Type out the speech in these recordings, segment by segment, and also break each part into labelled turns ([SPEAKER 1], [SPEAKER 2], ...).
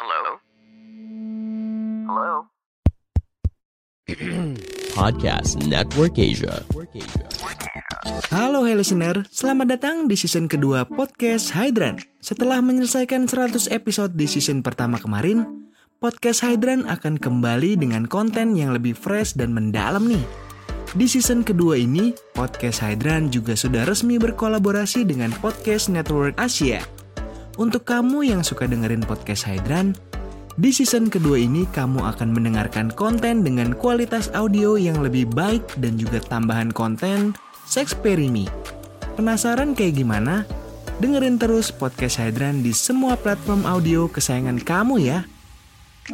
[SPEAKER 1] Hello? Hello?
[SPEAKER 2] Podcast Network Asia.
[SPEAKER 3] Halo hey listener, selamat datang di season kedua podcast Hydran. Setelah menyelesaikan 100 episode di season pertama kemarin, podcast Hydran akan kembali dengan konten yang lebih fresh dan mendalam nih. Di season kedua ini, podcast Hydran juga sudah resmi berkolaborasi dengan podcast Network Asia. Untuk kamu yang suka dengerin podcast Hydran, di season kedua ini kamu akan mendengarkan konten dengan kualitas audio yang lebih baik dan juga tambahan konten Sexperimi. Penasaran kayak gimana? Dengerin terus podcast Hydran di semua platform audio kesayangan kamu ya.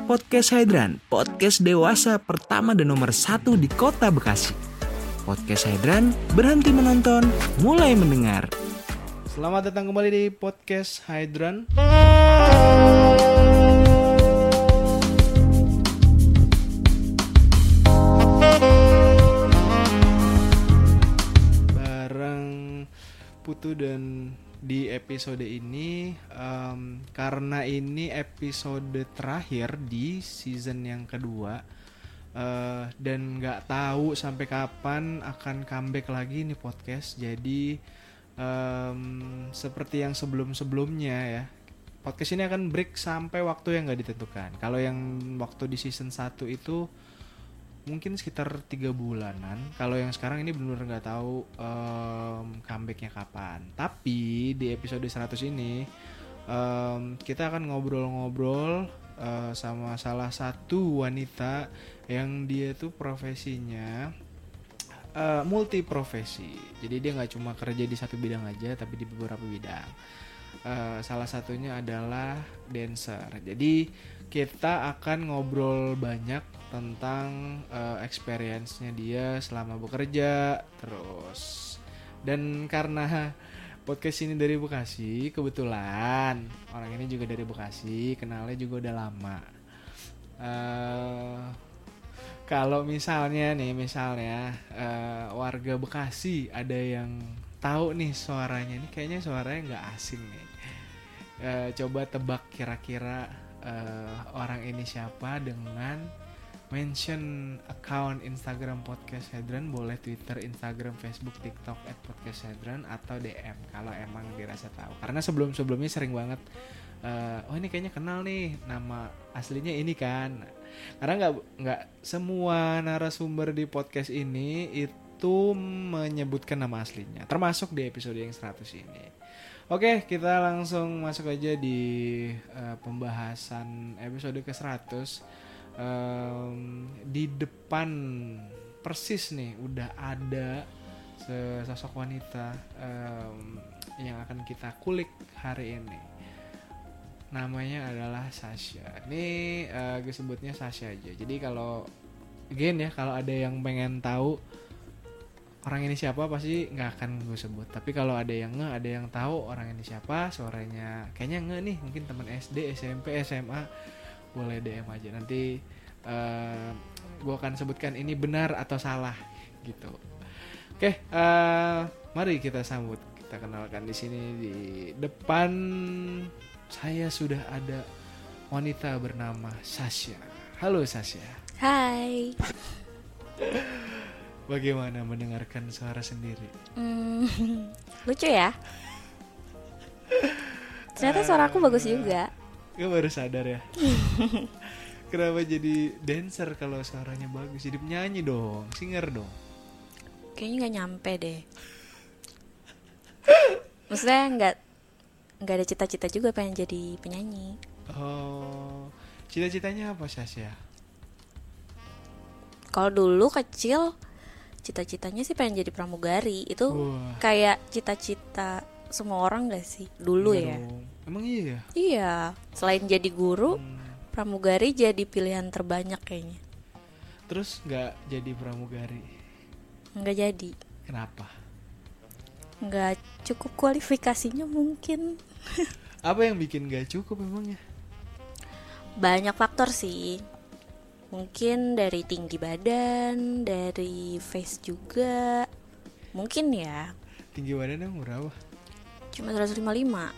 [SPEAKER 3] Podcast Hydran, podcast dewasa pertama dan nomor satu di kota Bekasi. Podcast Hydran, berhenti menonton, mulai mendengar.
[SPEAKER 4] Selamat datang kembali di podcast Hydran. Bareng Putu dan di episode ini em, karena ini episode terakhir di season yang kedua eh, dan nggak tahu sampai kapan akan comeback lagi nih podcast. Jadi em, seperti yang sebelum-sebelumnya ya. Podcast ini akan break sampai waktu yang nggak ditentukan. Kalau yang waktu di season 1 itu mungkin sekitar tiga bulanan. Kalau yang sekarang ini benar nggak tahu em, comebacknya kapan. Tapi di episode 100 ini em, kita akan ngobrol-ngobrol eh, sama salah satu wanita yang dia tuh profesinya eh, multi profesi. Jadi dia nggak cuma kerja di satu bidang aja, tapi di beberapa bidang. Eh, salah satunya adalah dancer. Jadi kita akan ngobrol banyak tentang eh, experience-nya dia selama bekerja terus. Dan karena podcast ini dari Bekasi, kebetulan orang ini juga dari Bekasi, kenalnya juga udah lama. eh kalau misalnya nih misalnya eh, warga Bekasi ada yang tahu nih suaranya ini kayaknya suaranya nggak asing nih Eh, coba tebak kira-kira eh, orang ini siapa dengan mention account Instagram podcast Hedron boleh Twitter Instagram Facebook TikTok at podcast Hedron atau DM kalau emang dirasa tahu karena sebelum sebelumnya sering banget eh, oh ini kayaknya kenal nih nama aslinya ini kan karena nggak nggak semua narasumber di podcast ini itu menyebutkan nama aslinya termasuk di episode yang 100 ini oke kita langsung masuk aja di eh, pembahasan episode ke 100 Em, di depan persis nih udah ada sesosok wanita em, yang akan kita kulik hari ini namanya adalah Sasha. Ini eh, gue sebutnya Sasha aja. Jadi kalau again ya kalau ada yang pengen tahu orang ini siapa pasti nggak akan gue sebut. Tapi kalau ada yang nge, ada yang tahu orang ini siapa, suaranya kayaknya nge nih, mungkin teman SD, SMP, SMA boleh DM aja. Nanti eh, gue akan sebutkan ini benar atau salah gitu. Oke, eh, mari kita sambut, kita kenalkan di sini di depan saya sudah ada wanita bernama Sasha. Halo Sasha,
[SPEAKER 5] Hai,
[SPEAKER 4] bagaimana mendengarkan suara sendiri?
[SPEAKER 5] Hmm, lucu ya. Ternyata suara aku bagus juga.
[SPEAKER 4] Gue baru sadar ya. Kenapa jadi dancer kalau suaranya bagus? Jadi penyanyi dong, singer dong.
[SPEAKER 5] Kayaknya nggak nyampe deh. Maksudnya nggak nggak ada cita-cita juga pengen jadi penyanyi.
[SPEAKER 4] Oh, cita-citanya apa Sasha?
[SPEAKER 5] Kalau dulu kecil cita-citanya sih pengen jadi pramugari. Itu
[SPEAKER 4] Wah.
[SPEAKER 5] kayak cita-cita semua orang gak sih dulu
[SPEAKER 4] Iya
[SPEAKER 5] ya.
[SPEAKER 4] dong. Emang iya ya?
[SPEAKER 5] Iya, selain jadi guru,
[SPEAKER 4] Hmm.
[SPEAKER 5] pramugari jadi pilihan terbanyak kayaknya.
[SPEAKER 4] Terus nggak jadi pramugari.
[SPEAKER 5] Nggak jadi,
[SPEAKER 4] Kenapa?
[SPEAKER 5] nggak cukup kualifikasinya mungkin.
[SPEAKER 4] Apa yang bikin nggak cukup ya? emangnya?
[SPEAKER 5] Banyak faktor sih. Mungkin dari tinggi badan, dari face juga. Mungkin ya,
[SPEAKER 4] Tinggi badannya emang berapa?
[SPEAKER 5] cuma 155.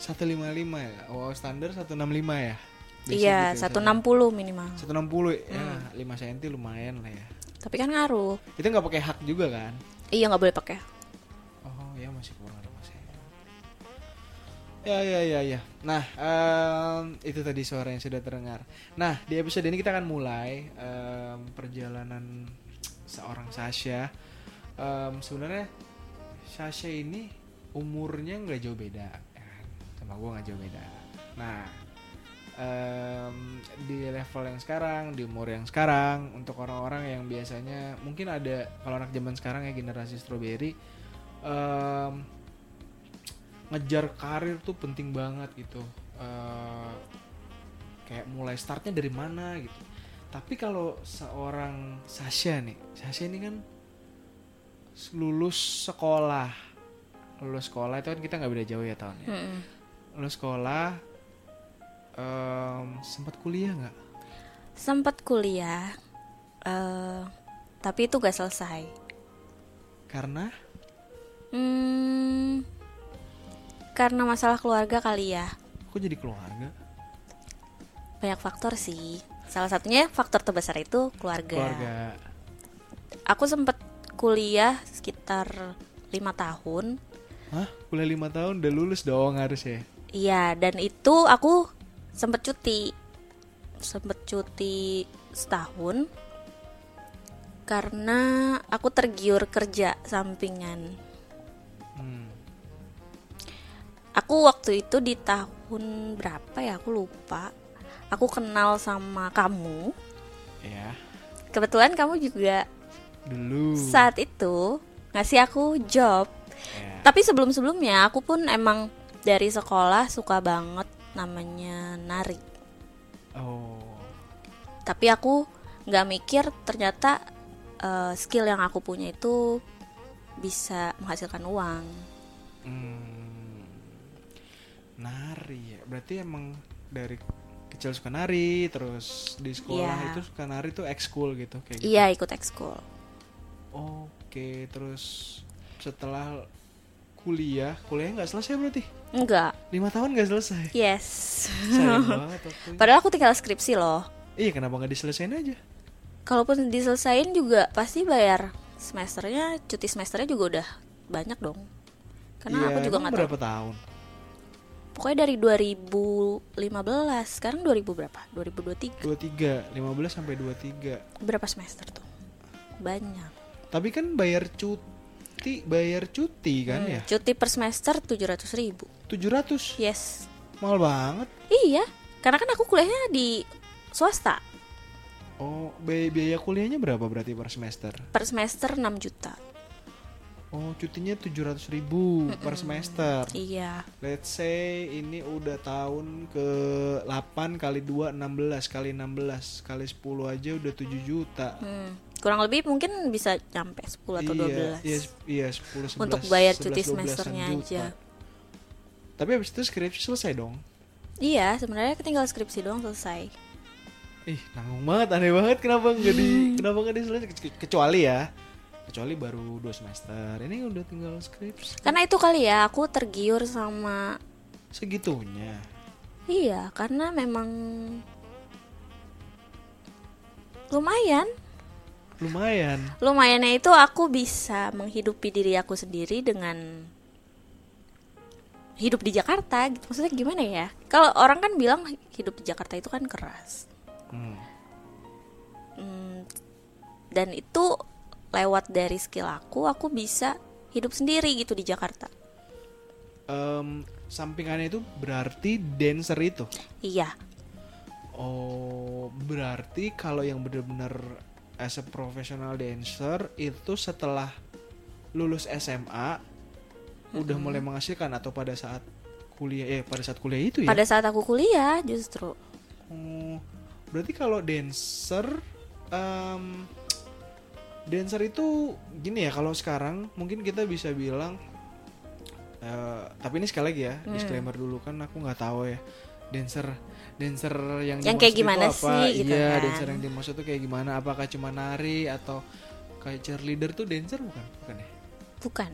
[SPEAKER 4] 155 ya? Oh standar 165 ya? Biasa
[SPEAKER 5] Iya,
[SPEAKER 4] gitu ya,
[SPEAKER 5] 160 minimal.
[SPEAKER 4] 160 ya, 5 cm lumayan lah ya.
[SPEAKER 5] Tapi kan ngaruh.
[SPEAKER 4] Itu nggak pakai hak juga kan?
[SPEAKER 5] Iya, nggak boleh pakai.
[SPEAKER 4] Oh ya masih kurang ada masih. Ya ya ya ya. Nah em, itu tadi suara yang sudah terdengar. Nah di episode ini kita akan mulai em, perjalanan seorang Sasha. Em, Sebenarnya Sasha ini umurnya nggak jauh beda, ya kan? sama gue nggak jauh beda. Nah em, di level yang sekarang, di umur yang sekarang, untuk orang-orang yang biasanya mungkin ada kalau anak zaman sekarang ya generasi strawberry em, ngejar karir tuh penting banget gitu Eh, kayak mulai startnya dari mana gitu tapi kalau seorang Sasha nih Sasha ini kan lulus sekolah lulus sekolah itu kan kita nggak beda jauh ya tahunnya
[SPEAKER 5] Mm-mm.
[SPEAKER 4] lulus sekolah em, sempat kuliah nggak
[SPEAKER 5] Sempat kuliah, eh, tapi itu gak selesai.
[SPEAKER 4] karena
[SPEAKER 5] Hmm, karena masalah keluarga kali ya.
[SPEAKER 4] aku jadi keluarga
[SPEAKER 5] Banyak faktor sih. Salah satunya faktor terbesar itu keluarga.
[SPEAKER 4] keluarga
[SPEAKER 5] Aku sempat kuliah sekitar lima tahun.
[SPEAKER 4] Hah? kuliah lima tahun udah lulus dong harus ya
[SPEAKER 5] Iya, dan itu aku sempet cuti. Sempet cuti setahun karena aku tergiur kerja sampingan.
[SPEAKER 4] hmm.
[SPEAKER 5] Aku waktu itu di tahun berapa ya aku lupa. Aku kenal sama kamu.
[SPEAKER 4] ya
[SPEAKER 5] Kebetulan kamu juga
[SPEAKER 4] dulu
[SPEAKER 5] saat itu ngasih aku job.
[SPEAKER 4] Ya.
[SPEAKER 5] Tapi sebelum-sebelumnya aku pun emang dari sekolah suka banget namanya nari.
[SPEAKER 4] Oh,
[SPEAKER 5] tapi aku nggak mikir ternyata eh, skill yang aku punya itu bisa menghasilkan uang
[SPEAKER 4] hmm, nari ya. Berarti emang dari kecil suka nari, terus di sekolah
[SPEAKER 5] Iya.
[SPEAKER 4] itu suka nari tuh ekskul gitu kayak. gitu.
[SPEAKER 5] iya ikut ekskul
[SPEAKER 4] Oke, terus setelah kuliah, kuliah nggak selesai berarti?
[SPEAKER 5] enggak
[SPEAKER 4] Lima tahun nggak selesai.
[SPEAKER 5] yes
[SPEAKER 4] Sayang banget waktunya.
[SPEAKER 5] padahal aku tinggal skripsi loh
[SPEAKER 4] Iya, kenapa nggak diselesain aja?
[SPEAKER 5] kalaupun diselesain juga pasti bayar semesternya cuti semesternya juga udah banyak dong karena
[SPEAKER 4] Iya,
[SPEAKER 5] aku juga
[SPEAKER 4] emang
[SPEAKER 5] nggak tahu
[SPEAKER 4] berapa tahun?
[SPEAKER 5] pokoknya dari 2015 sekarang 2000 berapa 2023
[SPEAKER 4] Dua tiga, lima belas sampai dua tiga.
[SPEAKER 5] berapa semester tuh banyak
[SPEAKER 4] Tapi kan bayar cuti, bayar cuti kan ya?
[SPEAKER 5] cuti per semester 700 ribu
[SPEAKER 4] Tujuh ratus,
[SPEAKER 5] yes
[SPEAKER 4] mahal banget.
[SPEAKER 5] Iya, karena kan aku kuliahnya di swasta.
[SPEAKER 4] Oh, bi- biaya kuliahnya berapa berarti per semester?
[SPEAKER 5] Per semester 6 juta.
[SPEAKER 4] Oh, cutinya 700.000 ribu per semester.
[SPEAKER 5] Iya.
[SPEAKER 4] Let's say ini udah tahun ke 8 kali 2, 16 kali 16 kali 10 aja udah 7 juta.
[SPEAKER 5] Hmm. Kurang lebih mungkin bisa nyampe 10 atau 12.
[SPEAKER 4] Iya, iya, 10, 11,
[SPEAKER 5] Untuk bayar
[SPEAKER 4] 11,
[SPEAKER 5] cuti
[SPEAKER 4] 12-an
[SPEAKER 5] semesternya
[SPEAKER 4] juta.
[SPEAKER 5] aja.
[SPEAKER 4] Tapi abis itu skripsi selesai dong.
[SPEAKER 5] Iya, sebenarnya tinggal skripsi doang selesai.
[SPEAKER 4] Ih, nanggung banget, aneh banget kenapa nggak di kenapa nggak diselesai Ke- kecuali ya. Kecuali baru 2 semester. Ini udah tinggal skripsi.
[SPEAKER 5] Karena itu kali ya aku tergiur sama
[SPEAKER 4] Segitunya.
[SPEAKER 5] iya, karena memang lumayan.
[SPEAKER 4] Lumayan.
[SPEAKER 5] Lumayannya itu aku bisa menghidupi diri aku sendiri dengan hidup di Jakarta gitu. Maksudnya gimana ya? Kalau orang kan bilang hidup di Jakarta itu kan keras.
[SPEAKER 4] Hmm.
[SPEAKER 5] Hmm, dan itu lewat dari skill aku, aku bisa hidup sendiri gitu di Jakarta.
[SPEAKER 4] Em, sampingannya itu berarti dancer itu.
[SPEAKER 5] Iya,
[SPEAKER 4] Oh, berarti kalau yang benar-benar as a professional dancer itu setelah lulus SMA udah mulai menghasilkan atau pada saat kuliah eh pada saat kuliah itu ya
[SPEAKER 5] Pada saat aku kuliah justru
[SPEAKER 4] Oh, berarti kalau dancer em, dancer itu gini ya kalau sekarang mungkin kita bisa bilang eh, tapi ini sekali lagi ya
[SPEAKER 5] Hmm.
[SPEAKER 4] disclaimer dulu kan aku nggak tahu ya dancer dancer yang
[SPEAKER 5] Yang
[SPEAKER 4] dimaksud
[SPEAKER 5] kayak
[SPEAKER 4] itu
[SPEAKER 5] gimana
[SPEAKER 4] apa?
[SPEAKER 5] sih gitu
[SPEAKER 4] iya
[SPEAKER 5] kan.
[SPEAKER 4] dancer yang dimaksud itu kayak gimana apakah cuma nari atau kayak cheerleader tuh dancer bukan bukan ya
[SPEAKER 5] bukan.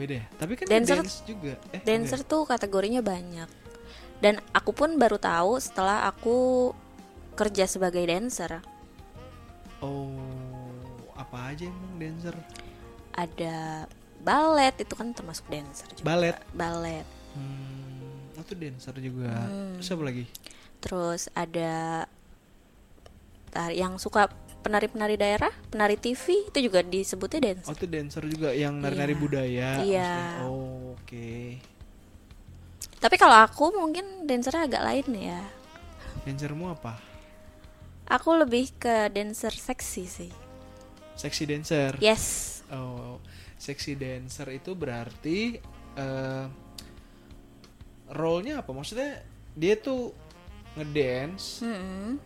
[SPEAKER 4] beda ya tapi kan
[SPEAKER 5] Dancer-
[SPEAKER 4] dance juga eh
[SPEAKER 5] Dancer tuh kategorinya banyak. Dan aku pun baru tahu setelah aku kerja sebagai dancer.
[SPEAKER 4] enggak. oh apa aja emang dancer
[SPEAKER 5] Ada ballet itu kan termasuk dancer juga.
[SPEAKER 4] ballet
[SPEAKER 5] Ballet.
[SPEAKER 4] Hmm, oh, tuh dancer juga. Terus apa lagi?
[SPEAKER 5] Hmm. Terus ada tar- yang suka penari-penari daerah, penari TV itu juga disebutnya
[SPEAKER 4] Oh,
[SPEAKER 5] dancer.
[SPEAKER 4] tuh dancer juga yang nari-nari
[SPEAKER 5] Iya.
[SPEAKER 4] budaya.
[SPEAKER 5] Iya.
[SPEAKER 4] maksudnya. Oh, oke.
[SPEAKER 5] Tapi kalau aku mungkin dancernya agak lain ya.
[SPEAKER 4] Dancermu apa?
[SPEAKER 5] Aku lebih ke dancer seksi sih.
[SPEAKER 4] Sexy dancer.
[SPEAKER 5] Iya. Yes.
[SPEAKER 4] Oh, sexy dancer itu berarti eh role-nya apa? Maksudnya dia tuh ngedance
[SPEAKER 5] Mm-mm.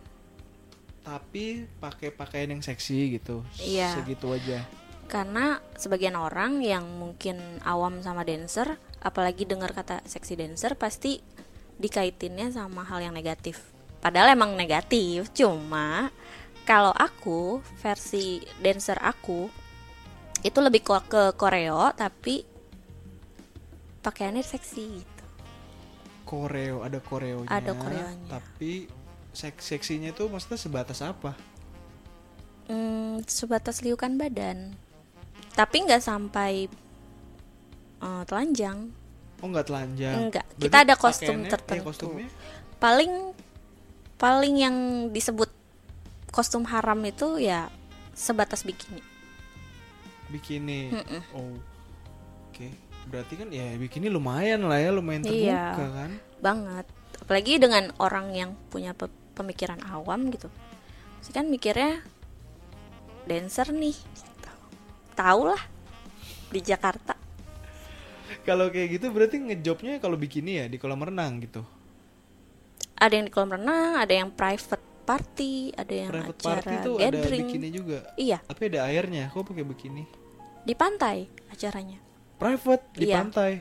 [SPEAKER 4] tapi pakai pakaian yang seksi gitu.
[SPEAKER 5] Iya.
[SPEAKER 4] Segitu aja.
[SPEAKER 5] Karena sebagian orang yang mungkin awam sama dancer, apalagi dengar kata seksi dancer pasti dikaitinnya sama hal yang negatif. Padahal emang negatif, cuma kalau aku versi dancer aku itu lebih ko- ke koreo tapi pakaiannya seksi gitu.
[SPEAKER 4] Koreo, ada koreonya.
[SPEAKER 5] Ada koreonya.
[SPEAKER 4] Tapi seks seksinya tuh maksudnya sebatas apa?
[SPEAKER 5] Hmm, sebatas liukan badan. Tapi nggak sampai eh, telanjang.
[SPEAKER 4] Oh nggak telanjang?
[SPEAKER 5] Enggak,
[SPEAKER 4] Berarti
[SPEAKER 5] kita ada kostum
[SPEAKER 4] pakaiannya- eh,
[SPEAKER 5] tertentu.
[SPEAKER 4] kostumnya?
[SPEAKER 5] paling paling yang disebut kostum haram itu ya sebatas bikini.
[SPEAKER 4] bikini. Oh, oke. Berarti kan ya bikini lumayan lah ya, lumayan terbuka
[SPEAKER 5] Iya.
[SPEAKER 4] kan?
[SPEAKER 5] banget apalagi dengan orang yang punya pe- pemikiran awam gitu pasti kan mikirnya dancer nih gitu. tau lah di Jakarta
[SPEAKER 4] Kalau kayak gitu berarti ngejobnya kalau bikini ya di kolam renang gitu.
[SPEAKER 5] ada yang di kolam renang ada yang private party ada yang
[SPEAKER 4] Private
[SPEAKER 5] acara
[SPEAKER 4] party tuh ada
[SPEAKER 5] gathering
[SPEAKER 4] bikini juga.
[SPEAKER 5] iya
[SPEAKER 4] Tapi ada airnya, kok pakai bikini?
[SPEAKER 5] di pantai acaranya
[SPEAKER 4] Private di
[SPEAKER 5] Iya.
[SPEAKER 4] pantai.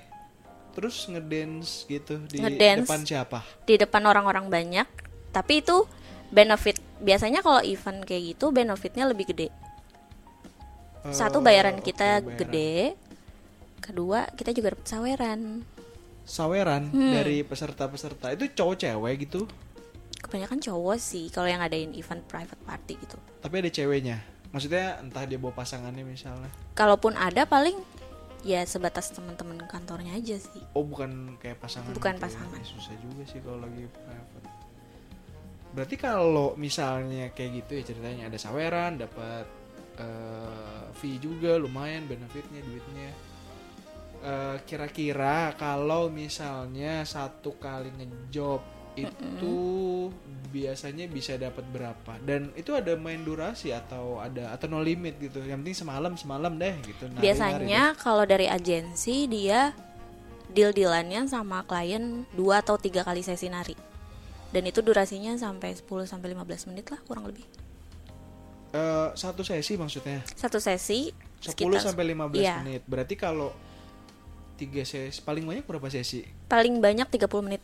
[SPEAKER 4] Terus ngedance gitu di
[SPEAKER 5] Ngedance.
[SPEAKER 4] depan siapa?
[SPEAKER 5] di depan orang-orang banyak tapi itu benefit biasanya kalau event kayak gitu benefitnya lebih gede satu
[SPEAKER 4] Eh,
[SPEAKER 5] bayaran
[SPEAKER 4] oke,
[SPEAKER 5] kita
[SPEAKER 4] bayaran.
[SPEAKER 5] gede kedua kita juga dapat saweran
[SPEAKER 4] Saweran
[SPEAKER 5] Hmm.
[SPEAKER 4] dari peserta-peserta itu cowok cewek gitu,
[SPEAKER 5] kebanyakan cowok sih kalau yang ngadain event private party gitu
[SPEAKER 4] tapi ada ceweknya. Maksudnya entah dia bawa pasangannya misalnya.
[SPEAKER 5] kalaupun ada paling ya sebatas teman-teman kantornya aja sih
[SPEAKER 4] Oh bukan kayak pasangan
[SPEAKER 5] Bukan
[SPEAKER 4] gitu ya.
[SPEAKER 5] pasangan.
[SPEAKER 4] Ya, Susah juga sih kalau lagi private Berarti kalau misalnya kayak gitu ya ceritanya Ada saweran, dapat eh, fee juga lumayan benefitnya, duitnya Eh, Kira-kira kalau misalnya satu kali ngejob itu biasanya bisa dapat berapa dan itu ada main durasi atau ada atau no limit gitu yang penting semalam semalam deh gitu nari-nari deh.
[SPEAKER 5] biasanya kalau dari agensi dia deal dealannya sama klien dua atau tiga kali sesi nari dan itu durasinya sampai 10 sampai 15 menit lah kurang lebih
[SPEAKER 4] Eh, satu sesi maksudnya
[SPEAKER 5] satu sesi
[SPEAKER 4] 10
[SPEAKER 5] sekitar
[SPEAKER 4] sampai 15
[SPEAKER 5] iya.
[SPEAKER 4] menit. Berarti kalau tiga sesi paling banyak berapa sesi?
[SPEAKER 5] paling banyak 30 menit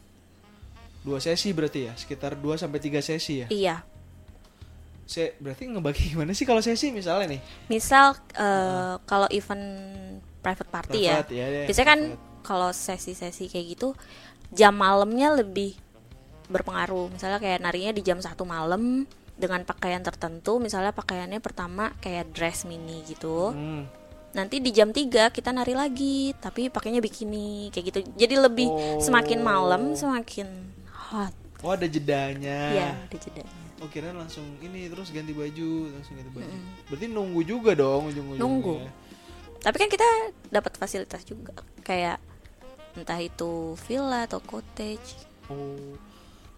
[SPEAKER 4] Dua sesi berarti ya, sekitar 2 sampai 3 sesi ya.
[SPEAKER 5] iya
[SPEAKER 4] Se berarti ngebagi gimana sih kalau sesi misalnya nih?
[SPEAKER 5] misal eh, kalau event private party
[SPEAKER 4] Private,
[SPEAKER 5] ya,
[SPEAKER 4] ya, ya,
[SPEAKER 5] biasanya kan
[SPEAKER 4] private.
[SPEAKER 5] kalau sesi-sesi kayak gitu jam malamnya lebih berpengaruh misalnya kayak narinya di jam satu malam dengan pakaian tertentu misalnya pakaiannya pertama kayak dress mini gitu
[SPEAKER 4] Hmm.
[SPEAKER 5] nanti di jam 3 kita nari lagi tapi pakainya bikini kayak gitu jadi lebih semakin malam semakin hot
[SPEAKER 4] Oh, ada jedanya.
[SPEAKER 5] ya ada jedanya
[SPEAKER 4] Oh, kirain langsung ini terus ganti baju, langsung ganti baju. Berarti nunggu juga dong ujung-ujungnya.
[SPEAKER 5] Nunggu. tapi kan kita dapat fasilitas juga kayak entah itu villa atau cottage
[SPEAKER 4] Oh.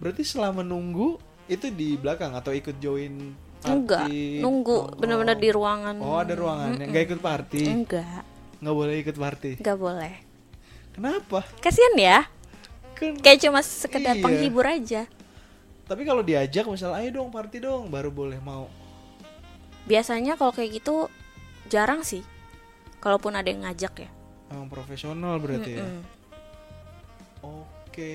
[SPEAKER 4] Berarti selama nunggu itu di belakang atau ikut join party?
[SPEAKER 5] enggak nongkrong.
[SPEAKER 4] nongkrong?
[SPEAKER 5] nunggu bener-bener di ruangan
[SPEAKER 4] Oh, ada ruangannya. Enggak ikut party.
[SPEAKER 5] enggak
[SPEAKER 4] Enggak boleh ikut party.
[SPEAKER 5] enggak boleh
[SPEAKER 4] Kenapa?
[SPEAKER 5] kasian ya
[SPEAKER 4] kan
[SPEAKER 5] kayak cuma sekedar
[SPEAKER 4] Iya.
[SPEAKER 5] penghibur aja
[SPEAKER 4] tapi kalau diajak misalnya ayo dong party dong baru boleh mau
[SPEAKER 5] biasanya kalau kayak gitu jarang sih kalaupun ada yang ngajak ya
[SPEAKER 4] emang profesional berarti ya
[SPEAKER 5] Mm-mm.
[SPEAKER 4] oke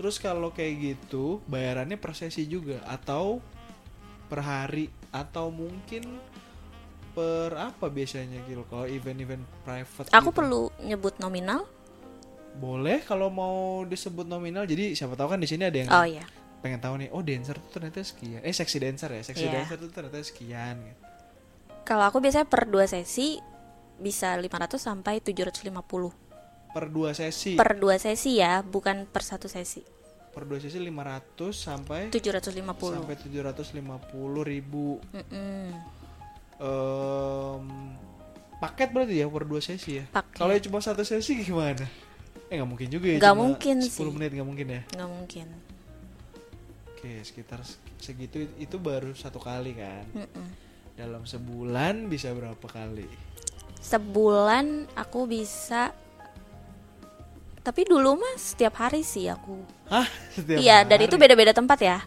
[SPEAKER 4] terus kalau kayak gitu bayarannya per sesi juga atau per hari atau mungkin per apa biasanya gitu kalau event-event private
[SPEAKER 5] aku
[SPEAKER 4] gitu?
[SPEAKER 5] perlu nyebut nominal
[SPEAKER 4] boleh kalau mau disebut nominal jadi siapa tahu kan di sini ada yang
[SPEAKER 5] oh iya
[SPEAKER 4] pengen tahu nih oh dancer tuh ternyata sekian eh seksi dancer ya seksi
[SPEAKER 5] Iya.
[SPEAKER 4] dancer tuh ternyata sekian gitu.
[SPEAKER 5] kalau aku biasanya per dua sesi bisa 500 sampai 750
[SPEAKER 4] per dua sesi
[SPEAKER 5] per dua sesi ya bukan per satu sesi
[SPEAKER 4] per dua sesi 500 sampai
[SPEAKER 5] 750
[SPEAKER 4] sampai 750 ribu
[SPEAKER 5] Mm-mm.
[SPEAKER 4] Em, paket berarti ya per dua sesi ya
[SPEAKER 5] Paket.
[SPEAKER 4] kalau yang cuma satu sesi gimana eh nggak mungkin juga ya
[SPEAKER 5] Nggak
[SPEAKER 4] cuma
[SPEAKER 5] mungkin
[SPEAKER 4] 10
[SPEAKER 5] sih.
[SPEAKER 4] menit nggak mungkin ya
[SPEAKER 5] nggak mungkin
[SPEAKER 4] oke sekitar se- segitu itu baru satu kali kan
[SPEAKER 5] Mm-mm.
[SPEAKER 4] dalam sebulan bisa berapa kali
[SPEAKER 5] sebulan aku bisa tapi dulu mah setiap hari sih aku
[SPEAKER 4] Hah? Setiap
[SPEAKER 5] iya
[SPEAKER 4] hari?
[SPEAKER 5] dan itu beda-beda tempat ya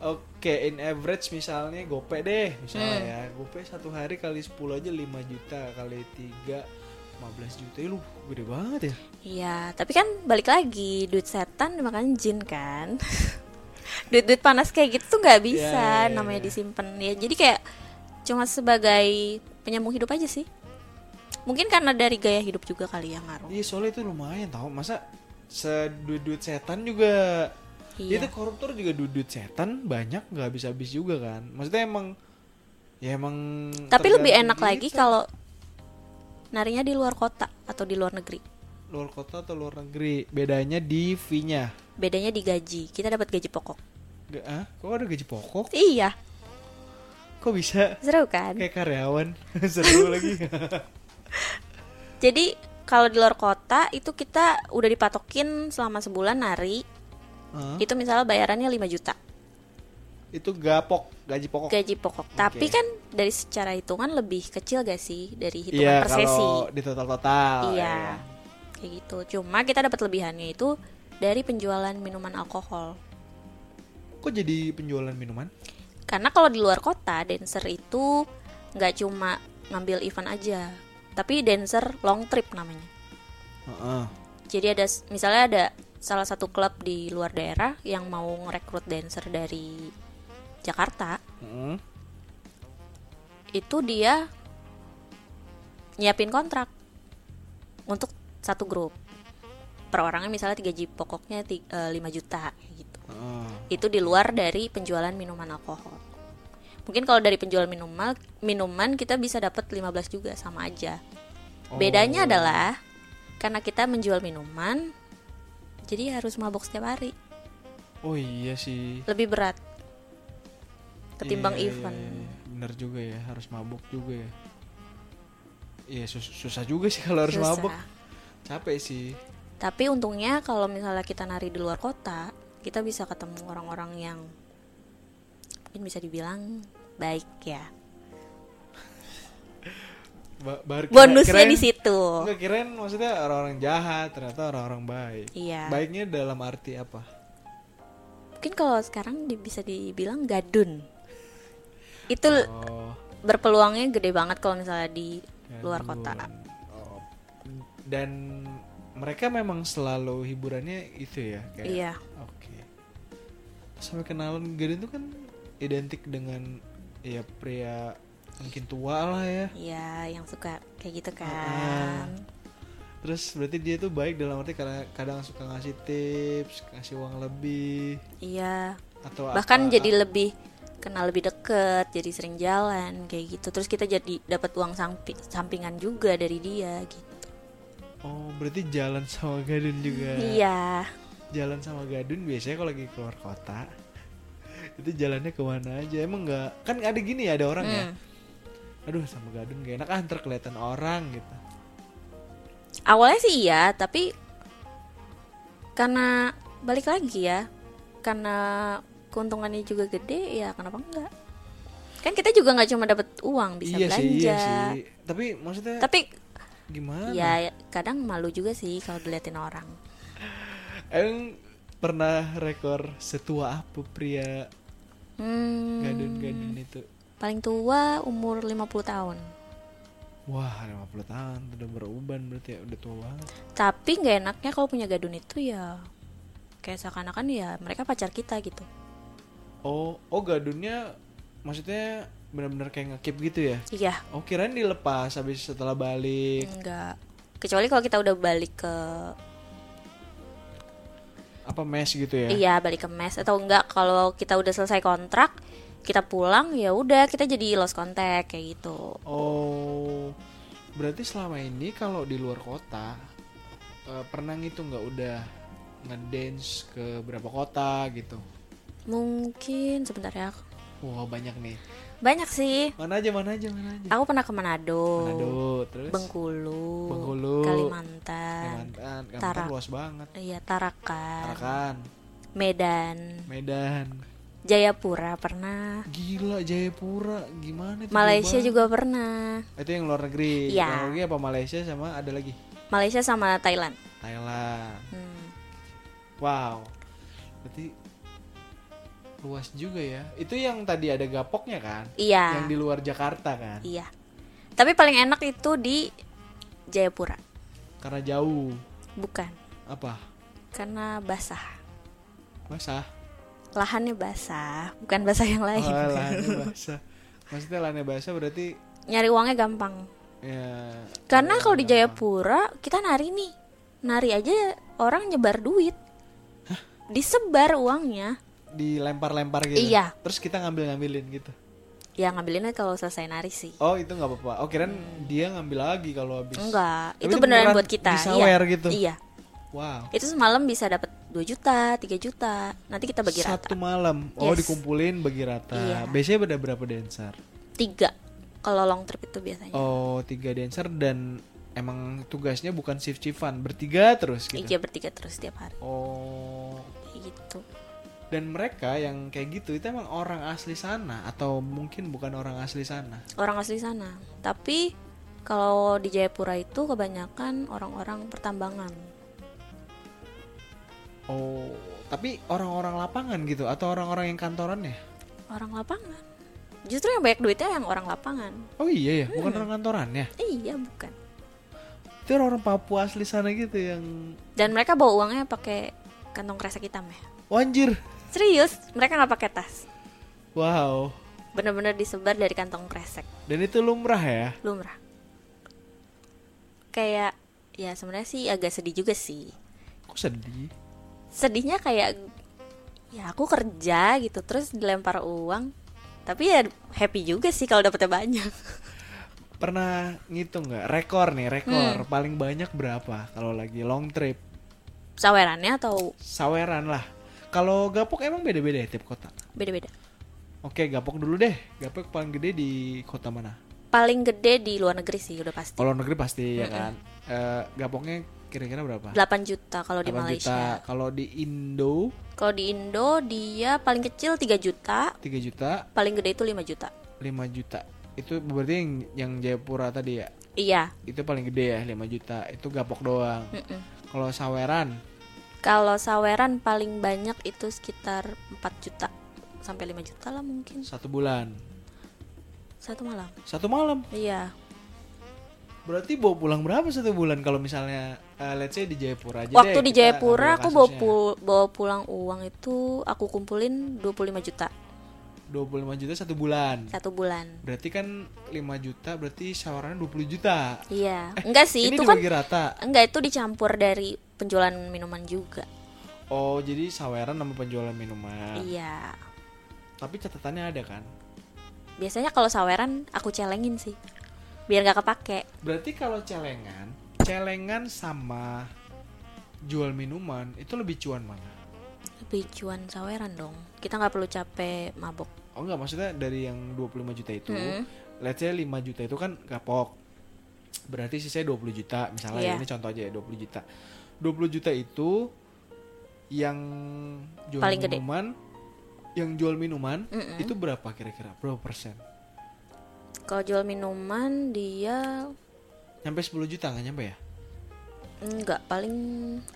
[SPEAKER 4] Oke, in average misalnya gope deh, misalnya
[SPEAKER 5] Mm.
[SPEAKER 4] ya. Gope satu hari kali 10 aja 5 juta, kali 3 15 juta. Ih, Lu gede banget ya.
[SPEAKER 5] iya tapi kan balik lagi duit setan dimakan jin kan duit-duit panas kayak gitu tuh
[SPEAKER 4] Ya,
[SPEAKER 5] nggak
[SPEAKER 4] ya,
[SPEAKER 5] bisa
[SPEAKER 4] ya,
[SPEAKER 5] namanya
[SPEAKER 4] ya.
[SPEAKER 5] disimpan ya jadi kayak cuma sebagai penyambung hidup aja sih mungkin karena dari gaya hidup juga kali ya ngaruh
[SPEAKER 4] Iya, soalnya itu lumayan tau. Masa seduit-duit setan juga
[SPEAKER 5] Iya.
[SPEAKER 4] Itu koruptor juga duit-duit setan banyak nggak habis-habis juga kan. Maksudnya emang ya emang
[SPEAKER 5] tapi lebih
[SPEAKER 4] tergantung
[SPEAKER 5] enak lagi
[SPEAKER 4] kita.
[SPEAKER 5] kalau narinya di luar kota atau di luar negeri
[SPEAKER 4] luar kota atau luar negeri. Bedanya di fee-nya.
[SPEAKER 5] bedanya di gaji kita dapat gaji pokok
[SPEAKER 4] Nggak- ah, Kok ada gaji pokok?
[SPEAKER 5] iya
[SPEAKER 4] Kok bisa?
[SPEAKER 5] seru kan
[SPEAKER 4] Kayak karyawan seru lagi.
[SPEAKER 5] jadi kalau di luar kota itu kita udah dipatokin selama sebulan nari
[SPEAKER 4] Hah?
[SPEAKER 5] itu misalnya bayarannya 5 juta
[SPEAKER 4] itu gapok gaji pokok
[SPEAKER 5] gaji pokok tapi kan dari secara hitungan lebih kecil gak sih dari
[SPEAKER 4] iya
[SPEAKER 5] hitungan per sesi
[SPEAKER 4] kalau Ah, di total total
[SPEAKER 5] iya kayak gitu cuma kita dapat lebihannya itu dari penjualan minuman alkohol
[SPEAKER 4] kok jadi penjualan minuman
[SPEAKER 5] Karena kalau di luar kota, dancer itu nggak cuma ngambil event aja, tapi dancer long trip namanya.
[SPEAKER 4] Heeh.
[SPEAKER 5] Jadi ada misalnya ada salah satu klub di luar daerah yang mau ngerekrut dancer dari Jakarta,
[SPEAKER 4] Heeh.
[SPEAKER 5] itu dia nyiapin kontrak untuk satu grup. Per orangnya misalnya tiga gaji pokoknya 5 juta kayak gitu.
[SPEAKER 4] Heeh.
[SPEAKER 5] itu di luar dari penjualan minuman alkohol. Mungkin kalau dari penjual minuman minuman kita bisa dapat 15 juga sama aja. Bedanya adalah karena kita menjual minuman jadi harus mabok setiap hari,
[SPEAKER 4] oh iya sih
[SPEAKER 5] lebih berat ketimbang
[SPEAKER 4] Iya, iya,
[SPEAKER 5] event.
[SPEAKER 4] iya, iya. bener juga ya harus mabuk juga ya iya sus- susah juga sih kalau harus
[SPEAKER 5] Susah.
[SPEAKER 4] mabuk capek sih
[SPEAKER 5] Tapi untungnya kalau misalnya kita nari di luar kota, kita bisa ketemu orang-orang yang mungkin bisa dibilang baik ya.
[SPEAKER 4] Ba- bar- kira-
[SPEAKER 5] Bonusnya
[SPEAKER 4] kirain-
[SPEAKER 5] di situ.
[SPEAKER 4] Enggak kirain maksudnya orang-orang jahat ternyata orang-orang baik
[SPEAKER 5] Iya.
[SPEAKER 4] baiknya dalam arti apa
[SPEAKER 5] mungkin kalau sekarang di- bisa dibilang gadun itu
[SPEAKER 4] oh
[SPEAKER 5] berpeluangnya gede banget kalau misalnya di luar
[SPEAKER 4] Gadun.
[SPEAKER 5] kota
[SPEAKER 4] Oh. Dan mereka memang selalu hiburannya itu ya kayak.
[SPEAKER 5] iya
[SPEAKER 4] Oke. Sampai kenalan Gadun tuh kan identik dengan ya pria mungkin tua lah ya.
[SPEAKER 5] iya yang suka kayak
[SPEAKER 4] Ah,
[SPEAKER 5] gitu kan
[SPEAKER 4] Terus berarti dia tuh baik dalam arti karena kadang suka ngasih tips, ngasih uang lebih
[SPEAKER 5] iya
[SPEAKER 4] atau
[SPEAKER 5] bahkan
[SPEAKER 4] apa-
[SPEAKER 5] jadi lebih kenal lebih deket jadi sering jalan kayak gitu terus kita jadi dapat uang sampi- sampingan juga dari dia gitu
[SPEAKER 4] Oh, berarti jalan sama Gadun juga.
[SPEAKER 5] iya
[SPEAKER 4] Jalan sama Gadun biasanya kalau lagi keluar kota itu jalannya kemana aja emang nggak kan ada gini ya ada orang ya
[SPEAKER 5] Hmm.
[SPEAKER 4] aduh sama gadun gak enak ah ntar kelihatan orang gitu
[SPEAKER 5] awalnya sih iya tapi karena balik lagi ya karena keuntungannya juga gede ya kenapa enggak kan kita juga nggak cuma dapat uang bisa
[SPEAKER 4] iya
[SPEAKER 5] belanja iya.
[SPEAKER 4] sih iya sih tapi maksudnya
[SPEAKER 5] tapi
[SPEAKER 4] gimana
[SPEAKER 5] ya kadang malu juga sih kalau diliatin orang
[SPEAKER 4] emang pernah rekor setua apa pria
[SPEAKER 5] Hmm,
[SPEAKER 4] gadun-gadun itu?
[SPEAKER 5] paling tua umur 50 tahun.
[SPEAKER 4] Wah, 50 tahun udah beruban berarti ya, udah tua banget.
[SPEAKER 5] Tapi nggak enaknya kalau punya gadun itu ya kayak seakan-akan ya mereka pacar kita gitu.
[SPEAKER 4] Oh, oh gadunnya maksudnya benar-benar kayak ngekip gitu ya?
[SPEAKER 5] Iya,
[SPEAKER 4] Oh, kirain dilepas habis setelah balik.
[SPEAKER 5] enggak. Kecuali kalau kita udah balik ke
[SPEAKER 4] apa mes gitu ya?
[SPEAKER 5] iya balik ke mes atau enggak kalau kita udah selesai kontrak kita pulang ya udah kita jadi lost contact kayak gitu.
[SPEAKER 4] Oh, berarti selama ini kalau di luar kota eh, pernah ngitung nggak udah ngedance ke berapa kota gitu?
[SPEAKER 5] Mungkin sebentar ya.
[SPEAKER 4] Wah banyak nih.
[SPEAKER 5] Banyak sih.
[SPEAKER 4] Mana aja mana aja mana aja.
[SPEAKER 5] Aku pernah ke Manado,
[SPEAKER 4] Manado, terus
[SPEAKER 5] Bengkulu,
[SPEAKER 4] Bengkulu,
[SPEAKER 5] Kalimantan,
[SPEAKER 4] Kalimantan,
[SPEAKER 5] Tara-
[SPEAKER 4] Kalimantan luas banget.
[SPEAKER 5] iya Tarakan,
[SPEAKER 4] Tarakan,
[SPEAKER 5] Medan,
[SPEAKER 4] Medan,
[SPEAKER 5] Jayapura pernah,
[SPEAKER 4] gila Jayapura, gimana? itu
[SPEAKER 5] Malaysia
[SPEAKER 4] jauh
[SPEAKER 5] juga pernah.
[SPEAKER 4] banget? Itu yang luar negeri.
[SPEAKER 5] Iya.
[SPEAKER 4] Luar negeri apa Malaysia sama ada lagi
[SPEAKER 5] Malaysia sama Thailand.
[SPEAKER 4] Thailand.
[SPEAKER 5] Hmm.
[SPEAKER 4] Wow. Berarti luas juga ya. Itu yang tadi ada gapoknya kan? Yang
[SPEAKER 5] Iya.
[SPEAKER 4] di luar Jakarta kan?
[SPEAKER 5] Iya. Tapi paling enak itu di Jayapura.
[SPEAKER 4] Karena jauh.
[SPEAKER 5] Bukan.
[SPEAKER 4] Apa?
[SPEAKER 5] Karena basah.
[SPEAKER 4] Basah.
[SPEAKER 5] Lahannya basah, bukan Iya, basah yang lain.
[SPEAKER 4] Oh, lahannya basah. Maksudnya lahannya basah berarti
[SPEAKER 5] Nyari uangnya gampang.
[SPEAKER 4] ya
[SPEAKER 5] Karena
[SPEAKER 4] ya,
[SPEAKER 5] kalau di
[SPEAKER 4] gampang.
[SPEAKER 5] Jayapura kita nari nih. Nari aja orang nyebar duit. Disebar uangnya.
[SPEAKER 4] dilempar-lempar gitu.
[SPEAKER 5] Iya.
[SPEAKER 4] Terus kita ngambil-ngambilin gitu.
[SPEAKER 5] Ya ngambilinnya kalau selesai nari sih.
[SPEAKER 4] Oh, itu nggak apa-apa. Oh, kirain dia ngambil lagi kalau habis.
[SPEAKER 5] Enggak,
[SPEAKER 4] Tapi
[SPEAKER 5] itu beneran
[SPEAKER 4] beneran
[SPEAKER 5] buat kita.
[SPEAKER 4] disawer
[SPEAKER 5] iya.
[SPEAKER 4] gitu.
[SPEAKER 5] Iya.
[SPEAKER 4] Wow.
[SPEAKER 5] Itu semalam bisa dapat 2 juta, 3 juta. Nanti kita bagi
[SPEAKER 4] Satu
[SPEAKER 5] rata.
[SPEAKER 4] malam. Oh,
[SPEAKER 5] Yes.
[SPEAKER 4] dikumpulin bagi rata.
[SPEAKER 5] Iya.
[SPEAKER 4] Biasanya ada berapa dancer?
[SPEAKER 5] Tiga kalau long trip itu biasanya.
[SPEAKER 4] Oh, tiga dancer dan emang tugasnya bukan shift-shiftan, bertiga terus gitu.
[SPEAKER 5] Iya bertiga terus tiap hari
[SPEAKER 4] Oh.
[SPEAKER 5] kayak gitu.
[SPEAKER 4] Dan mereka yang kayak gitu itu emang orang asli sana atau mungkin bukan orang asli sana.
[SPEAKER 5] Orang asli sana. Tapi kalau di Jayapura itu kebanyakan orang-orang pertambangan.
[SPEAKER 4] Oh, tapi orang-orang lapangan gitu atau orang-orang yang kantoran ya?
[SPEAKER 5] Orang lapangan. Justru yang banyak duitnya yang orang lapangan.
[SPEAKER 4] Oh iya ya, bukan
[SPEAKER 5] Hmm.
[SPEAKER 4] orang kantoran ya.
[SPEAKER 5] Iya bukan.
[SPEAKER 4] Itu orang Papua asli sana gitu yang
[SPEAKER 5] Dan mereka bawa uangnya pakai kantong kresek hitam ya.
[SPEAKER 4] wanjir.
[SPEAKER 5] Serius, mereka nggak pakai tas.
[SPEAKER 4] Wow.
[SPEAKER 5] Bener-bener disebar dari kantong kresek.
[SPEAKER 4] Dan itu lumrah ya.
[SPEAKER 5] lumrah kayak ya sebenarnya sih agak sedih juga sih
[SPEAKER 4] Kok sedih?
[SPEAKER 5] sedihnya kayak ya aku kerja gitu terus dilempar uang tapi ya happy juga sih kalau dapetnya banyak
[SPEAKER 4] Pernah ngitung nggak rekor nih, rekor paling banyak berapa kalau lagi long trip?
[SPEAKER 5] sawerannya atau
[SPEAKER 4] saweran lah. Kalau gapok emang beda-beda ya tiap kota.
[SPEAKER 5] beda-beda
[SPEAKER 4] Oke, gapok dulu deh. Gapok paling gede di kota mana?
[SPEAKER 5] paling gede di luar negeri sih udah pasti
[SPEAKER 4] Kalau negeri pasti ya kan. Eh, gapoknya kira-kira berapa?
[SPEAKER 5] 8 juta kalau
[SPEAKER 4] 8
[SPEAKER 5] di Malaysia
[SPEAKER 4] juta. Kalau di Indo
[SPEAKER 5] kalau di Indo dia paling kecil 3 juta
[SPEAKER 4] 3 juta,
[SPEAKER 5] paling gede itu 5 juta
[SPEAKER 4] 5 juta. Itu berarti yang, yang Jayapura tadi ya.
[SPEAKER 5] iya
[SPEAKER 4] Itu paling gede ya 5 juta. Itu gapok doang.
[SPEAKER 5] mm-mm.
[SPEAKER 4] Kalau saweran
[SPEAKER 5] kalau saweran paling banyak itu sekitar 4 juta sampai 5 juta lah mungkin
[SPEAKER 4] satu bulan.
[SPEAKER 5] satu malam
[SPEAKER 4] Satu malam.
[SPEAKER 5] Iya,
[SPEAKER 4] Berarti bawa pulang berapa satu bulan kalau misalnya eh, let's say di Jayapura aja
[SPEAKER 5] waktu
[SPEAKER 4] deh,
[SPEAKER 5] di
[SPEAKER 4] kita
[SPEAKER 5] Jayapura
[SPEAKER 4] ngambil
[SPEAKER 5] aku bawa,
[SPEAKER 4] eh, kasusnya.
[SPEAKER 5] pul- bawa pulang uang itu aku kumpulin 25 juta
[SPEAKER 4] 25 juta satu bulan.
[SPEAKER 5] satu bulan.
[SPEAKER 4] Berarti kan 5 juta berarti sawarannya 20 juta. Eh,
[SPEAKER 5] Iya, enggak sih
[SPEAKER 4] Ini
[SPEAKER 5] itu kan
[SPEAKER 4] dibagi rata.
[SPEAKER 5] enggak itu dicampur dari penjualan minuman juga.
[SPEAKER 4] Oh, jadi saweran nama penjualan minuman.
[SPEAKER 5] Iya,
[SPEAKER 4] Tapi catatannya ada kan?
[SPEAKER 5] biasanya kalau saweran aku celengin sih, biar nggak kepake.
[SPEAKER 4] Berarti kalau celengan, celengan sama jual minuman itu lebih cuan mana?
[SPEAKER 5] Lebih cuan saweran dong. Kita nggak perlu capek mabok.
[SPEAKER 4] Oh enggak, maksudnya dari yang 25 juta itu,
[SPEAKER 5] Mm.
[SPEAKER 4] let's say 5 juta itu kan kapok. Berarti sisanya 20 juta, misalnya
[SPEAKER 5] Iya.
[SPEAKER 4] ini contoh aja ya 20 juta. 20 juta itu yang jual
[SPEAKER 5] Paling gede.
[SPEAKER 4] minuman yang jual minuman
[SPEAKER 5] Mm-mm.
[SPEAKER 4] itu berapa kira-kira? Berapa persen?
[SPEAKER 5] Kalau jual minuman dia
[SPEAKER 4] Nyampe 10 juta nggak nyampe ya?
[SPEAKER 5] Enggak, paling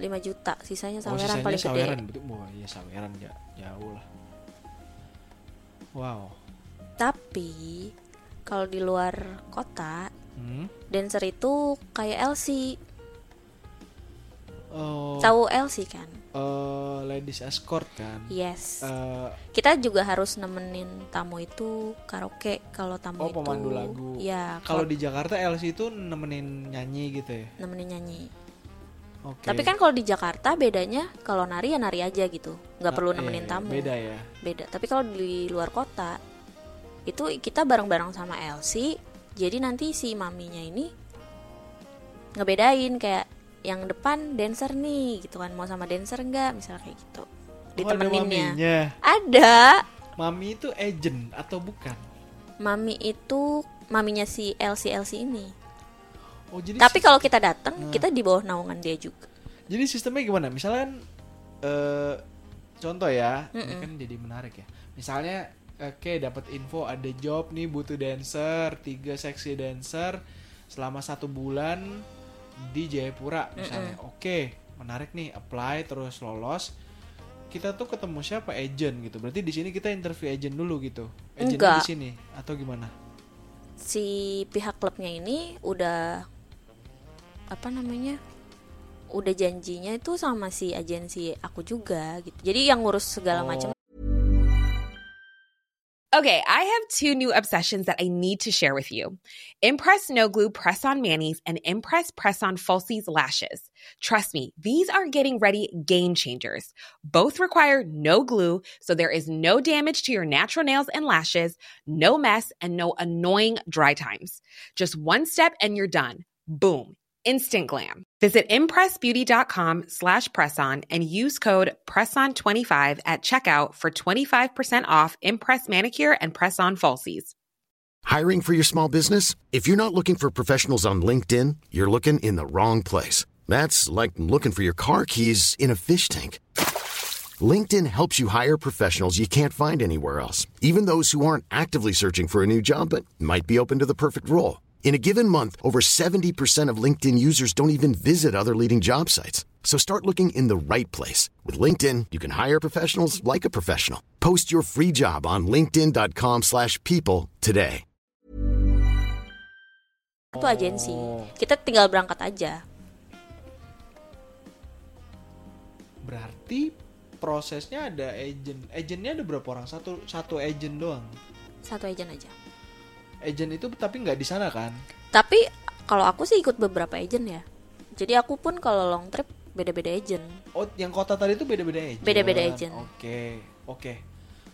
[SPEAKER 5] 5 juta. Sisanya
[SPEAKER 4] oh
[SPEAKER 5] saweran
[SPEAKER 4] sisanya
[SPEAKER 5] paling
[SPEAKER 4] saweran
[SPEAKER 5] gede.
[SPEAKER 4] betul wah iya saweran ya jauh lah wow
[SPEAKER 5] Tapi kalau di luar kota,
[SPEAKER 4] hmm?
[SPEAKER 5] dancer itu kayak LC.
[SPEAKER 4] oh
[SPEAKER 5] Tahu LC kan?
[SPEAKER 4] eh, ladies escort kan
[SPEAKER 5] Yes.
[SPEAKER 4] Eh,
[SPEAKER 5] Kita juga harus nemenin tamu itu karaoke kalau tamu
[SPEAKER 4] oh
[SPEAKER 5] itu.
[SPEAKER 4] pemandu lagu
[SPEAKER 5] Ya,
[SPEAKER 4] kalau di Jakarta LC itu nemenin nyanyi gitu ya
[SPEAKER 5] nemenin nyanyi.
[SPEAKER 4] oke
[SPEAKER 5] Tapi kan kalau di Jakarta bedanya kalau nari ya nari aja gitu. nggak
[SPEAKER 4] Ah,
[SPEAKER 5] perlu
[SPEAKER 4] iya,
[SPEAKER 5] nemenin
[SPEAKER 4] iya,
[SPEAKER 5] tamu.
[SPEAKER 4] beda ya
[SPEAKER 5] beda tapi kalau di luar kota itu kita bareng-bareng sama Elsie jadi nanti si maminya ini ngebedain kayak yang depan dancer nih gitu kan mau sama dancer enggak misal kayak gitu
[SPEAKER 4] Oh, ada
[SPEAKER 5] ditemeninnya
[SPEAKER 4] maminya
[SPEAKER 5] ada
[SPEAKER 4] mami itu agent atau bukan
[SPEAKER 5] mami itu maminya si Elsie Elsie ini
[SPEAKER 4] oh jadi
[SPEAKER 5] tapi
[SPEAKER 4] sis-
[SPEAKER 5] kalau kita
[SPEAKER 4] Nah.
[SPEAKER 5] datang kita di bawah naungan dia juga
[SPEAKER 4] jadi sistemnya gimana misalkan eh contoh ya ini kan jadi menarik ya misalnya oke dapat info ada job nih butuh dancer tiga seksi dancer selama satu bulan di Jayapura misalnya oke menarik nih apply terus lolos kita tuh ketemu siapa agent gitu berarti di sini kita interview agent dulu gitu agent di
[SPEAKER 5] Enggak.
[SPEAKER 4] sini atau gimana
[SPEAKER 5] si pihak klubnya ini udah apa namanya udah janjinya itu sama si agensi aku juga gitu jadi yang ngurus segala macam
[SPEAKER 1] Okay, I have two new obsessions that I need to share with you Impress No Glue Press On Manny's and Impress Press On Falsies Lashes. Trust me, these are getting ready game changers. Both require no glue, so there is no damage to your natural nails and lashes, no mess, and no annoying dry times. Just one step and you're done. Boom. Instant glam. Visit impressbeauty.com slash presson and use code presson25 at checkout for 25% off Impress Manicure and Press On Falsies.
[SPEAKER 6] Hiring for your small business? If you're not looking for professionals on LinkedIn, you're looking in the wrong place. That's like looking for your car keys in a fish tank. LinkedIn helps you hire professionals you can't find anywhere else, even those who aren't actively searching for a new job but might be open to the perfect role. In a given month, over 70% of LinkedIn users don't even visit other leading job sites. So start looking in the right place. With LinkedIn, you can hire professionals like a professional. Post your free job on linkedin.com/people slash people today.
[SPEAKER 5] itu agensi kita tinggal berangkat aja
[SPEAKER 4] berarti prosesnya ada agent agentnya ada berapa orang satu satu agent doang
[SPEAKER 5] satu agent aja
[SPEAKER 4] agent itu tapi nggak di sana kan
[SPEAKER 5] tapi kalau aku sih ikut beberapa agent ya jadi aku pun kalau long trip beda-beda agent
[SPEAKER 4] oh yang kota tadi itu beda-beda agent
[SPEAKER 5] Beda-beda agent.
[SPEAKER 4] oke oke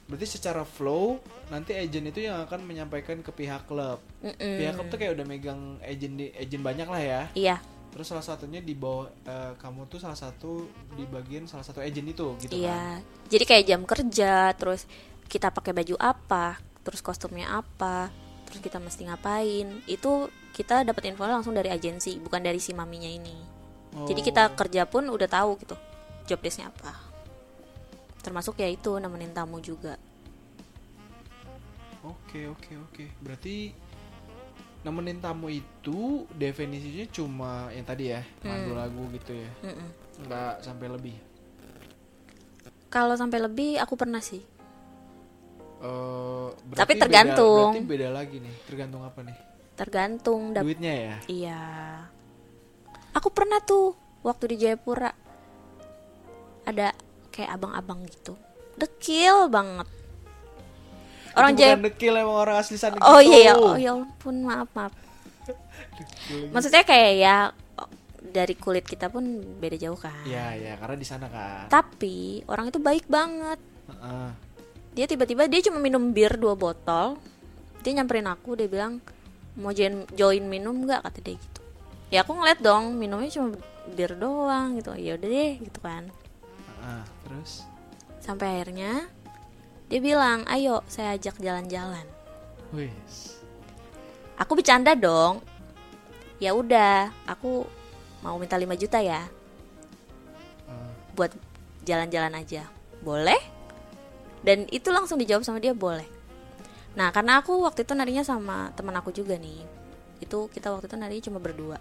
[SPEAKER 4] berarti secara flow nanti agent itu yang akan menyampaikan ke pihak klub
[SPEAKER 5] Mm-mm.
[SPEAKER 4] pihak klub tuh kayak udah megang agent di agent banyak lah ya
[SPEAKER 5] iya
[SPEAKER 4] terus salah satunya di bawah eh, kamu tuh salah satu di bagian salah satu agent itu gitu kan
[SPEAKER 5] iya jadi kayak jam kerja terus kita pakai baju apa terus kostumnya apa terus kita mesti ngapain itu kita dapat info langsung dari agensi bukan dari si maminya ini jadi
[SPEAKER 4] Oh.
[SPEAKER 5] kita kerja pun udah tahu gitu job desk-nya apa termasuk ya itu nemenin tamu juga
[SPEAKER 4] Oh, Oke oke oke. Berarti nemenin tamu itu definisinya cuma yang tadi ya, lagu lagu gitu ya.
[SPEAKER 5] Hmm. Mm-mm.
[SPEAKER 4] Nggak sampai lebih.
[SPEAKER 5] kalau sampai lebih aku pernah sih
[SPEAKER 4] Eh, berarti
[SPEAKER 5] Tapi
[SPEAKER 4] beda-
[SPEAKER 5] tergantung.
[SPEAKER 4] berarti beda lagi nih. Tergantung apa nih?
[SPEAKER 5] tergantung dap-
[SPEAKER 4] Duitnya ya.
[SPEAKER 5] Iya. Aku pernah tuh waktu di Jayapura ada kayak abang-abang gitu. Dekil banget. Orang
[SPEAKER 4] Itu bukan
[SPEAKER 5] Jayapura.
[SPEAKER 4] dekil emang orang asli sana
[SPEAKER 5] Oh
[SPEAKER 4] gitu.
[SPEAKER 5] iya ya, oh ya ampun maaf maaf.
[SPEAKER 4] gitu.
[SPEAKER 5] Maksudnya kayak ya o- dari kulit kita pun beda jauh kan.
[SPEAKER 4] Ya ya karena di sana kan. Ah,
[SPEAKER 5] Tapi orang itu baik banget.
[SPEAKER 4] Heeh.
[SPEAKER 5] Dia tiba-tiba dia cuma minum bir dua botol. Dia nyamperin aku, dia bilang mau join, join minum nggak kata dia gitu. Ya aku ngeliat dong minumnya cuma bir doang gitu. Ya udah deh gitu kan.
[SPEAKER 4] heeh. ah, Terus
[SPEAKER 5] Sampai akhirnya dia bilang, "Ayo, saya ajak jalan-jalan."
[SPEAKER 4] wis.
[SPEAKER 5] Aku bercanda dong. Ya udah, aku mau minta 5 juta ya. Buat jalan-jalan aja. Boleh? Dan itu langsung dijawab sama dia boleh. Nah, karena aku waktu itu narinya sama teman aku juga nih. Itu kita waktu itu narinya cuma berdua.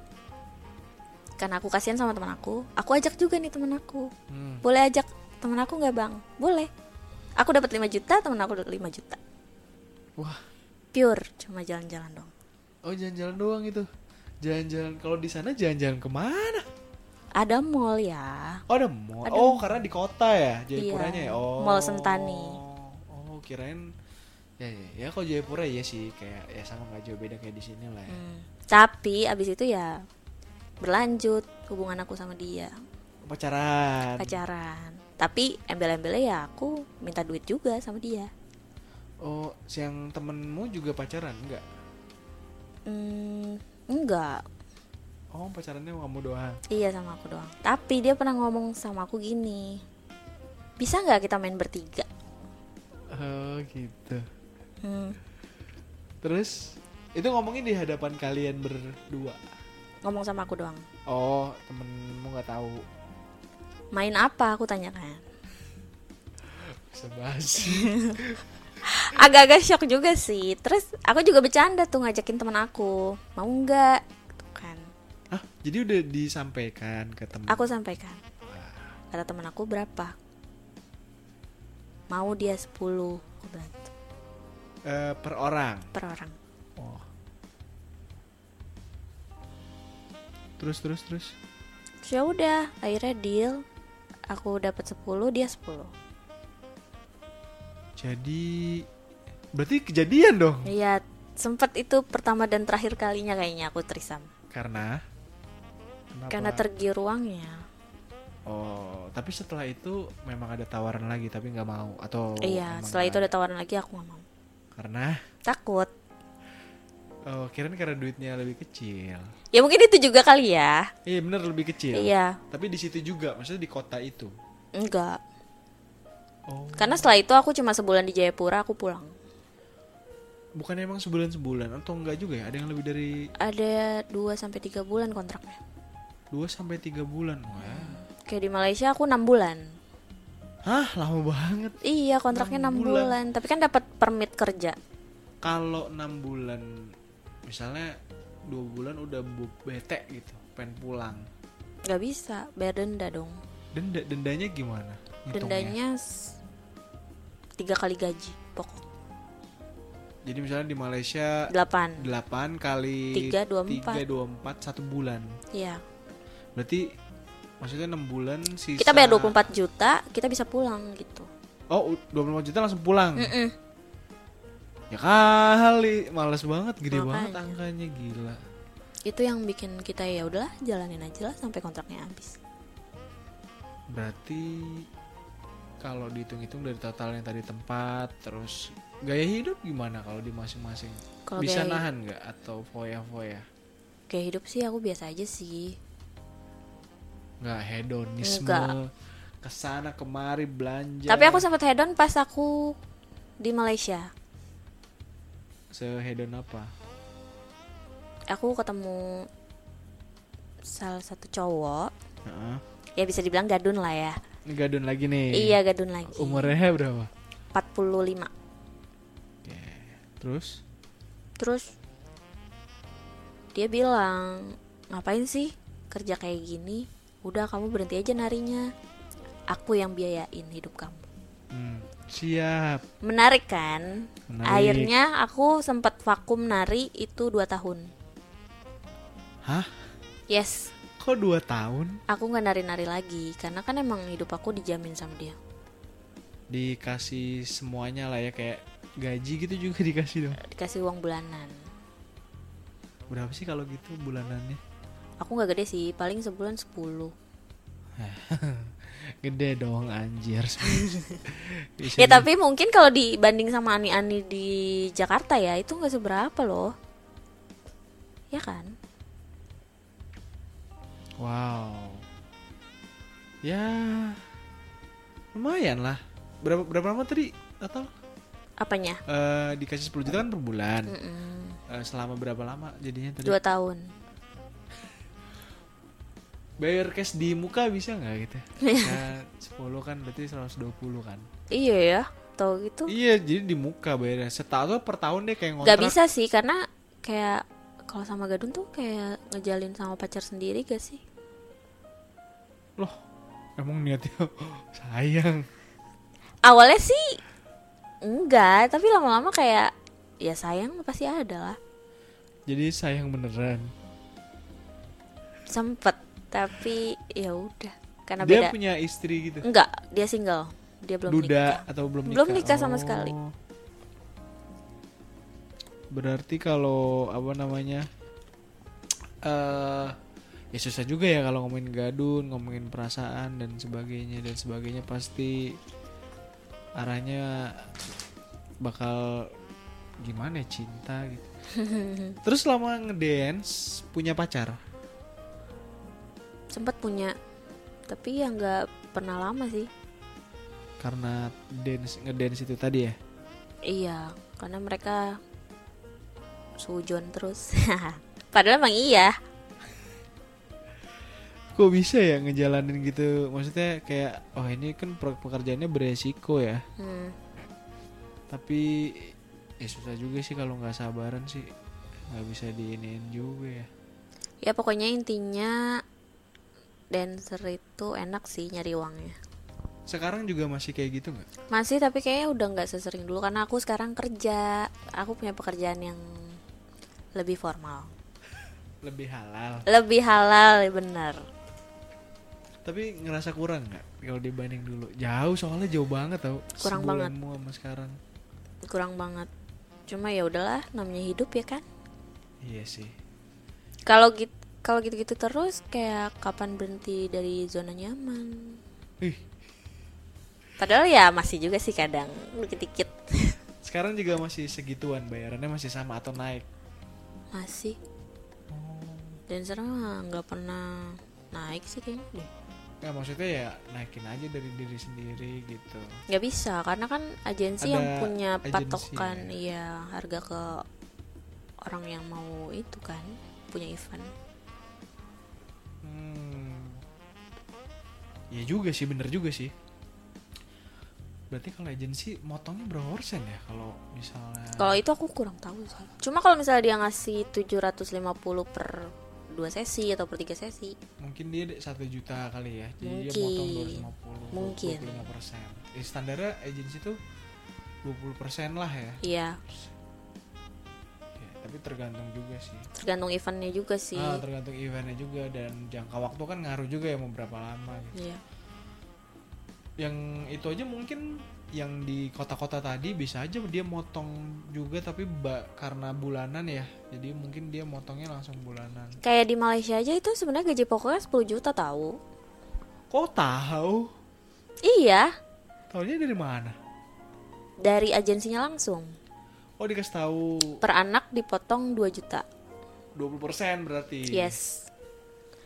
[SPEAKER 5] karena aku kasihan sama teman aku aku ajak juga nih teman aku
[SPEAKER 4] Hmm.
[SPEAKER 5] boleh ajak teman aku nggak bang boleh aku dapat 5 juta teman aku dapat 5 juta
[SPEAKER 4] Wah.
[SPEAKER 5] pure cuma jalan-jalan dong
[SPEAKER 4] Oh jalan-jalan doang itu. Jalan-jalan kalau di sana jalan-jalan kemana?
[SPEAKER 5] ada mall ya
[SPEAKER 4] Oh ada mall.
[SPEAKER 5] Ada.
[SPEAKER 4] Oh karena di kota ya Jayapuranya
[SPEAKER 5] Iya,
[SPEAKER 4] ya. Oh.
[SPEAKER 5] Mall Sentani.
[SPEAKER 4] Oh kirain ya ya, ya kalau Jayapura ya sih kayak ya sama nggak jauh beda kayak di sini lah ya.
[SPEAKER 5] Hmm. tapi abis itu ya berlanjut hubungan aku sama dia
[SPEAKER 4] Pacaran.
[SPEAKER 5] pacaran tapi embel-embelnya ya aku minta duit juga sama dia
[SPEAKER 4] Oh siang temenmu juga pacaran nggak?
[SPEAKER 5] Hmm, enggak
[SPEAKER 4] Oh pacarannya sama kamu doang.
[SPEAKER 5] Iya sama aku doang. Tapi dia pernah ngomong sama aku gini. Bisa nggak kita main bertiga?
[SPEAKER 4] Oh gitu.
[SPEAKER 5] Hmm,
[SPEAKER 4] Terus itu ngomongin di hadapan kalian berdua.
[SPEAKER 5] ngomong sama aku doang.
[SPEAKER 4] Oh temenmu nggak tahu
[SPEAKER 5] Main apa? Aku tanyakan.
[SPEAKER 4] sebasi.
[SPEAKER 5] Agak-agak shock juga sih. Terus aku juga bercanda tuh ngajakin teman aku. Mau nggak? Tuh kan.
[SPEAKER 4] Hah, Ah, jadi udah disampaikan ke temen.
[SPEAKER 5] Aku sampaikan. Kata teman aku berapa? Mau dia 10 aku bilang,
[SPEAKER 4] Eh, per orang.
[SPEAKER 5] per orang.
[SPEAKER 4] Oh. Terus terus terus.
[SPEAKER 5] Terus ya udah, akhirnya deal. Aku dapat 10, dia 10.
[SPEAKER 4] Jadi berarti kejadian dong
[SPEAKER 5] Iya, sempat itu pertama dan terakhir kalinya kayaknya aku trisam.
[SPEAKER 4] karena Kenapa?
[SPEAKER 5] Karena tergiur uangnya.
[SPEAKER 4] Oh, tapi setelah itu memang ada tawaran lagi tapi nggak mau atau
[SPEAKER 5] iya, setelah
[SPEAKER 4] kan?
[SPEAKER 5] itu ada tawaran lagi aku nggak mau.
[SPEAKER 4] karena
[SPEAKER 5] Takut.
[SPEAKER 4] oh kirain karena duitnya lebih kecil.
[SPEAKER 5] Ya mungkin itu juga kali ya.
[SPEAKER 4] Iya bener lebih kecil.
[SPEAKER 5] Iya,
[SPEAKER 4] Tapi di situ juga maksudnya di kota itu.
[SPEAKER 5] enggak.
[SPEAKER 4] Oh.
[SPEAKER 5] Karena setelah itu aku cuma sebulan di Jayapura aku pulang.
[SPEAKER 4] Bukan emang sebulan sebulan atau enggak juga ya? Ada yang lebih dari
[SPEAKER 5] Ada 2 sampai 3 bulan kontraknya.
[SPEAKER 4] 2 sampai 3 bulan. Wah.
[SPEAKER 5] Kayak di Malaysia aku 6 bulan.
[SPEAKER 4] Hah, lama banget.
[SPEAKER 5] Iya, kontraknya 6
[SPEAKER 4] Enam
[SPEAKER 5] bulan.
[SPEAKER 4] bulan.
[SPEAKER 5] tapi kan dapat permit kerja.
[SPEAKER 4] Kalau 6 bulan misalnya 2 bulan udah bu- bete gitu, pengen pulang.
[SPEAKER 5] Gak bisa, bayar denda dong.
[SPEAKER 4] Denda dendanya gimana? Ngitungnya?
[SPEAKER 5] Dendanya s- tiga kali gaji pokok.
[SPEAKER 4] Jadi misalnya di Malaysia
[SPEAKER 5] 8.
[SPEAKER 4] 8 kali
[SPEAKER 5] Tiga, dua, empat.
[SPEAKER 4] 324 1 bulan.
[SPEAKER 5] Iya.
[SPEAKER 4] Berarti maksudnya 6 bulan sisa
[SPEAKER 5] kita bayar 24 juta, kita bisa pulang gitu.
[SPEAKER 4] Oh, u- 24 juta langsung pulang.
[SPEAKER 5] Mm-mm.
[SPEAKER 4] Ya kali, males banget gede
[SPEAKER 5] Makanya.
[SPEAKER 4] banget angkanya gila.
[SPEAKER 5] Itu yang bikin kita ya udahlah jalanin aja lah sampai kontraknya habis.
[SPEAKER 4] Berarti kalau dihitung-hitung dari totalnya tadi tempat terus gaya hidup gimana kalau di masing-masing?
[SPEAKER 5] Kalau
[SPEAKER 4] Bisa
[SPEAKER 5] gaya-
[SPEAKER 4] nahan nggak atau foya-foya?
[SPEAKER 5] Kayak hidup sih aku biasa aja sih.
[SPEAKER 4] Nggak hedonisme.
[SPEAKER 5] Nggak.
[SPEAKER 4] Kesana kemari belanja.
[SPEAKER 5] Tapi aku sempat hedon pas aku di Malaysia.
[SPEAKER 4] sehedon apa?
[SPEAKER 5] Aku ketemu salah satu cowok,
[SPEAKER 4] Heeh.
[SPEAKER 5] ya bisa dibilang gadun lah ya.
[SPEAKER 4] Ini gadun lagi nih.
[SPEAKER 5] Iya, gadun lagi.
[SPEAKER 4] Umurnya berapa?
[SPEAKER 5] 45.
[SPEAKER 4] Oke. Terus
[SPEAKER 5] Terus dia bilang, "Ngapain sih kerja kayak gini? Udah kamu berhenti aja narinya. Aku yang biayain hidup kamu."
[SPEAKER 4] hmm, siap.
[SPEAKER 5] Menarik kan?
[SPEAKER 4] Menarik.
[SPEAKER 5] Akhirnya aku sempat vakum nari itu 2 tahun.
[SPEAKER 4] Hah?
[SPEAKER 5] Yes,
[SPEAKER 4] Kok 2 tahun
[SPEAKER 5] aku nggak nari-nari lagi karena kan emang hidup aku dijamin sama dia.
[SPEAKER 4] dikasih semuanya lah ya kayak gaji gitu juga dikasih dong.
[SPEAKER 5] Dikasih uang bulanan.
[SPEAKER 4] Berapa sih kalau gitu bulanannya?
[SPEAKER 5] Aku nggak gede sih, paling sebulan 10.
[SPEAKER 4] Gede dong anjir.
[SPEAKER 5] Ya tapi mungkin kalau dibanding sama ani-ani di Jakarta ya itu nggak seberapa loh. Ya kan?
[SPEAKER 4] Wow. Ya lumayan lah. Berapa berapa lama tadi total?
[SPEAKER 5] Apanya?
[SPEAKER 4] Eh, dikasih 10 juta kan per bulan.
[SPEAKER 5] Mm-mm.
[SPEAKER 4] Eh, selama berapa lama jadinya tadi?
[SPEAKER 5] Dua tahun.
[SPEAKER 4] Bayar cash di muka bisa nggak gitu? Ya, 10 kan berarti 120 kan.
[SPEAKER 5] Iya ya, tau gitu.
[SPEAKER 4] Iya, jadi di muka bayarnya setahun atau per tahun deh kayak ngontrak.
[SPEAKER 5] Gak bisa sih karena kayak kalau sama Gadun tuh kayak ngejalin sama pacar sendiri gak sih?
[SPEAKER 4] loh emang niatnya sayang
[SPEAKER 5] awalnya sih enggak tapi lama-lama kayak ya sayang pasti ada lah
[SPEAKER 4] jadi sayang beneran
[SPEAKER 5] sempet tapi ya udah karena
[SPEAKER 4] dia
[SPEAKER 5] beda
[SPEAKER 4] punya istri gitu
[SPEAKER 5] enggak dia single dia belum
[SPEAKER 4] duda
[SPEAKER 5] nikah
[SPEAKER 4] atau belum nikah Oh.
[SPEAKER 5] Belum nikah sama sekali.
[SPEAKER 4] berarti kalau apa namanya eh ya susah juga ya kalau ngomongin gadun ngomongin perasaan dan sebagainya dan sebagainya pasti arahnya bakal gimana ya, cinta gitu terus lama ngedance punya pacar
[SPEAKER 5] sempet punya tapi ya nggak pernah lama sih
[SPEAKER 4] karena dance ngedance itu tadi ya
[SPEAKER 5] iya karena mereka sujon terus padahal emang iya
[SPEAKER 4] kok bisa ya ngejalanin gitu maksudnya kayak oh ini kan per- pekerjaannya beresiko ya
[SPEAKER 5] Hmm,
[SPEAKER 4] tapi ya susah juga sih kalau nggak sabaran sih nggak bisa diinin juga ya
[SPEAKER 5] ya pokoknya intinya dancer itu enak sih nyari uangnya
[SPEAKER 4] sekarang juga masih kayak gitu nggak
[SPEAKER 5] Masih tapi kayaknya udah nggak sesering dulu karena aku sekarang kerja. Aku punya pekerjaan yang lebih formal,
[SPEAKER 4] lebih halal
[SPEAKER 5] lebih halal, bener.
[SPEAKER 4] tapi ngerasa kurang nggak kalau dibanding dulu jauh soalnya jauh banget tau
[SPEAKER 5] Kurang banget.
[SPEAKER 4] Sebulanmu sama sekarang
[SPEAKER 5] Kurang banget. Cuma ya udahlah, namanya hidup ya kan.
[SPEAKER 4] iya sih
[SPEAKER 5] Kalau gitu kalau gitu-gitu terus kayak kapan berhenti dari zona nyaman?
[SPEAKER 4] Ih,
[SPEAKER 5] Padahal ya masih juga sih kadang dikit-dikit
[SPEAKER 4] sekarang juga masih segituan bayarannya masih sama atau naik
[SPEAKER 5] masih. Dan sekarang mah nggak pernah naik sih kayaknya deh.
[SPEAKER 4] nggak maksudnya ya naikin aja dari diri sendiri gitu
[SPEAKER 5] nggak bisa karena kan agensi
[SPEAKER 4] Ada
[SPEAKER 5] yang punya
[SPEAKER 4] agensi
[SPEAKER 5] patokan ya harga ke orang yang mau itu kan punya event
[SPEAKER 4] Hmm. Ya juga sih, bener juga sih. Berarti kalau agensi motongnya berapa persen ya kalau misalnya
[SPEAKER 5] kalau itu aku kurang tahu sih cuma kalau misalnya dia ngasih 750 per dua sesi atau per tiga sesi
[SPEAKER 4] mungkin dia de- satu juta kali ya. Jadi dia
[SPEAKER 5] Mungkin.
[SPEAKER 4] motong 250
[SPEAKER 5] Mungkin.
[SPEAKER 4] 25%. Eh, standarnya agensi tuh 20% lah ya.
[SPEAKER 5] iya
[SPEAKER 4] Ya, Tapi tergantung juga sih.
[SPEAKER 5] tergantung eventnya juga sih
[SPEAKER 4] Ah, tergantung eventnya juga dan jangka waktu kan ngaruh juga ya mau berapa lama gitu.
[SPEAKER 5] iya
[SPEAKER 4] yang itu aja mungkin yang di kota-kota tadi bisa aja dia motong juga tapi ba- karena bulanan ya jadi mungkin dia motongnya langsung bulanan
[SPEAKER 5] kayak di Malaysia aja itu sebenarnya gaji pokoknya 10 juta tahu
[SPEAKER 4] kok tahu
[SPEAKER 5] iya
[SPEAKER 4] taunya dari mana
[SPEAKER 5] dari agensinya langsung
[SPEAKER 4] oh dikasih tahu
[SPEAKER 5] per anak dipotong 2 juta
[SPEAKER 4] 20% berarti
[SPEAKER 5] Yes.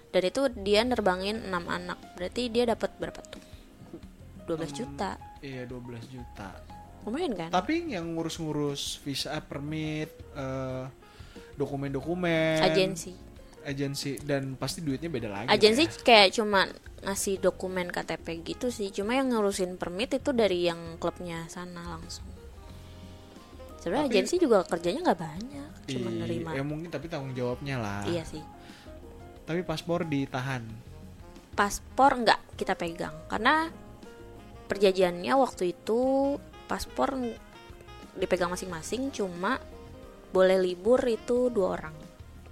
[SPEAKER 5] Dan itu dia nerbangin 6 anak. Berarti dia dapat berapa tuh? 12 juta.
[SPEAKER 4] iya 12 juta
[SPEAKER 5] Lumayan kan?
[SPEAKER 4] tapi yang ngurus-ngurus visa permit eh, dokumen-dokumen
[SPEAKER 5] Agensi.
[SPEAKER 4] agensi dan pasti duitnya beda lagi lah
[SPEAKER 5] Agensi
[SPEAKER 4] ya.
[SPEAKER 5] kayak cuma ngasih dokumen KTP gitu sih. Cuma yang ngurusin permit itu dari yang klubnya sana langsung. Sebenarnya
[SPEAKER 4] Tapi-
[SPEAKER 5] agensi juga kerjanya nggak banyak, cuma
[SPEAKER 4] Iya,
[SPEAKER 5] nerima.
[SPEAKER 4] ya mungkin tapi tanggung jawabnya lah
[SPEAKER 5] Iya sih.
[SPEAKER 4] tapi paspor ditahan
[SPEAKER 5] Paspor nggak kita pegang karena perjanjiannya waktu itu paspor n- dipegang masing-masing cuma boleh libur itu dua orang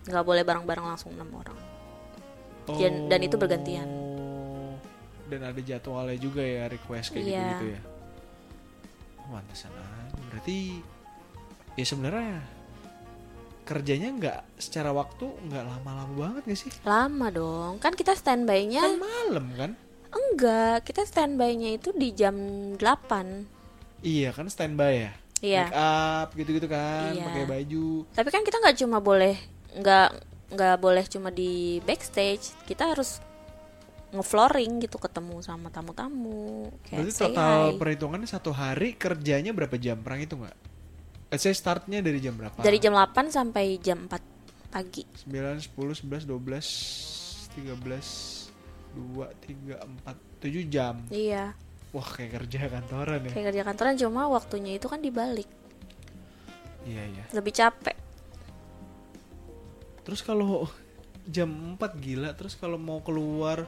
[SPEAKER 5] nggak boleh bareng-bareng langsung enam orang Dan- dan itu bergantian.
[SPEAKER 4] Oh. Dan ada jadwalnya juga ya request kayak
[SPEAKER 5] Iya.
[SPEAKER 4] gitu ya. Oh, pantesan aja. Berarti ya sebenarnya kerjanya nggak secara waktu nggak lama-lama banget gak sih?
[SPEAKER 5] lama dong kan kita standby-nya
[SPEAKER 4] Kan malam kan?
[SPEAKER 5] enggak kita standby-nya itu di jam 8
[SPEAKER 4] Iya kan standby ya.
[SPEAKER 5] Iya.
[SPEAKER 4] Make up gitu-gitu kan,
[SPEAKER 5] Iya.
[SPEAKER 4] pakai baju.
[SPEAKER 5] tapi kan kita nggak cuma boleh nggak nggak boleh cuma di backstage kita harus ngeflooring gitu ketemu sama tamu-tamu kayak
[SPEAKER 4] Berarti
[SPEAKER 5] say
[SPEAKER 4] total
[SPEAKER 5] hi.
[SPEAKER 4] perhitungannya satu hari kerjanya berapa jam? Perang itu nggak? Let's say startnya dari jam berapa?
[SPEAKER 5] dari jam 8 sampai jam 4 pagi
[SPEAKER 4] 9, 10, 11, 12, 13, 2, 3, 4, 7 jam
[SPEAKER 5] iya
[SPEAKER 4] Wah kayak kerja kantoran ya
[SPEAKER 5] kayak kerja kantoran cuma waktunya itu kan dibalik
[SPEAKER 4] Iya iya
[SPEAKER 5] lebih capek
[SPEAKER 4] Terus kalau jam 4 gila Terus kalau mau keluar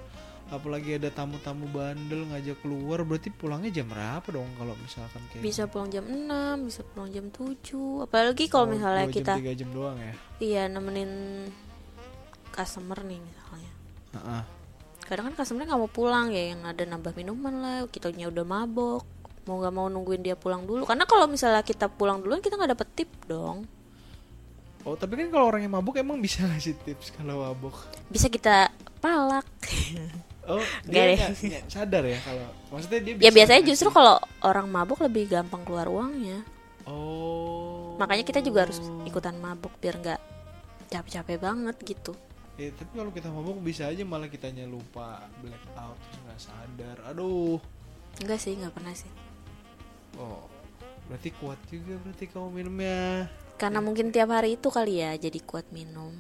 [SPEAKER 4] apalagi ada tamu-tamu bandel ngajak keluar berarti pulangnya jam berapa dong kalau misalkan kayak
[SPEAKER 5] bisa pulang jam 6 bisa pulang jam 7 apalagi kalau
[SPEAKER 4] Oh,
[SPEAKER 5] misalnya
[SPEAKER 4] dua
[SPEAKER 5] kita
[SPEAKER 4] jam, tiga jam doang ya
[SPEAKER 5] iya nemenin customer nih misalnya
[SPEAKER 4] Heeh.
[SPEAKER 5] kadang kan customer nggak mau pulang ya yang ada nambah minuman lah kitanya udah mabok mau nggak mau nungguin dia pulang dulu karena kalau misalnya kita pulang duluan kita nggak dapet tip dong
[SPEAKER 4] oh tapi kan kalau orang yang mabuk emang bisa ngasih tips kalau mabuk
[SPEAKER 5] bisa kita palak
[SPEAKER 4] oh
[SPEAKER 5] Nggak
[SPEAKER 4] dia
[SPEAKER 5] deh.
[SPEAKER 4] nggak- nggak sadar ya kalau maksudnya dia
[SPEAKER 5] ya
[SPEAKER 4] bisa
[SPEAKER 5] biasanya
[SPEAKER 4] ngasih-
[SPEAKER 5] justru kalau orang mabuk lebih gampang keluar uangnya
[SPEAKER 4] oh
[SPEAKER 5] makanya kita juga harus ikutan mabuk biar nggak capek-capek banget gitu
[SPEAKER 4] Ya, tapi kalau kita mabuk bisa aja malah kitanya lupa black out terus nggak sadar aduh
[SPEAKER 5] enggak sih nggak pernah sih
[SPEAKER 4] oh berarti kuat juga berarti kamu minumnya
[SPEAKER 5] karena mungkin tiap hari itu kali ya jadi kuat minum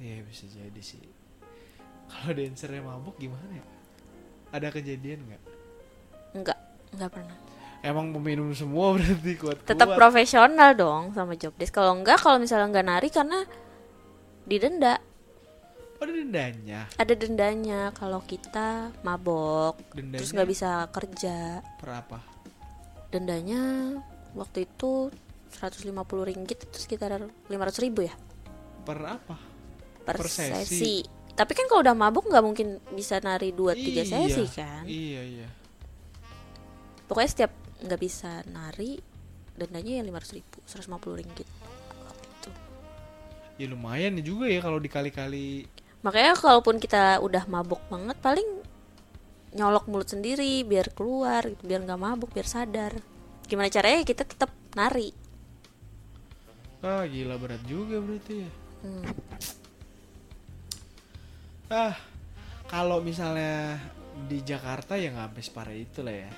[SPEAKER 4] Iya bisa jadi sih. Kalau dancernya mabuk gimana ya? Ada kejadian nggak?
[SPEAKER 5] enggak enggak pernah
[SPEAKER 4] Emang peminum semua berarti kuat kuat.
[SPEAKER 5] tetap profesional dong sama jobdesk kalau enggak kalau misalnya enggak nari karena didenda
[SPEAKER 4] Ada Oh, dendanya.
[SPEAKER 5] ada dendanya kalau kita mabok
[SPEAKER 4] Dendanya
[SPEAKER 5] terus nggak bisa kerja
[SPEAKER 4] per apa?
[SPEAKER 5] dendanya waktu itu 150 ringgit itu sekitar 500 ribu ya
[SPEAKER 4] Per apa?
[SPEAKER 5] per,
[SPEAKER 4] Per
[SPEAKER 5] sesi.
[SPEAKER 4] sesi.
[SPEAKER 5] tapi kan kalau udah mabuk nggak mungkin bisa nari 2-3 sesi
[SPEAKER 4] Iya,
[SPEAKER 5] kan
[SPEAKER 4] Iya iya.
[SPEAKER 5] pokoknya setiap nggak bisa nari dendanya ya 500 ribu 150 ringgit waktu itu
[SPEAKER 4] Ya lumayan juga ya kalau dikali-kali.
[SPEAKER 5] Makanya kalaupun kita udah mabok banget paling nyolok mulut sendiri biar keluar gitu, biar nggak mabuk, biar sadar. Gimana caranya ya kita tetap nari?
[SPEAKER 4] Ah gila berat juga berarti ya.
[SPEAKER 5] Hmm.
[SPEAKER 4] Ah kalau misalnya di Jakarta ya nggak sampai separah itu lah ya.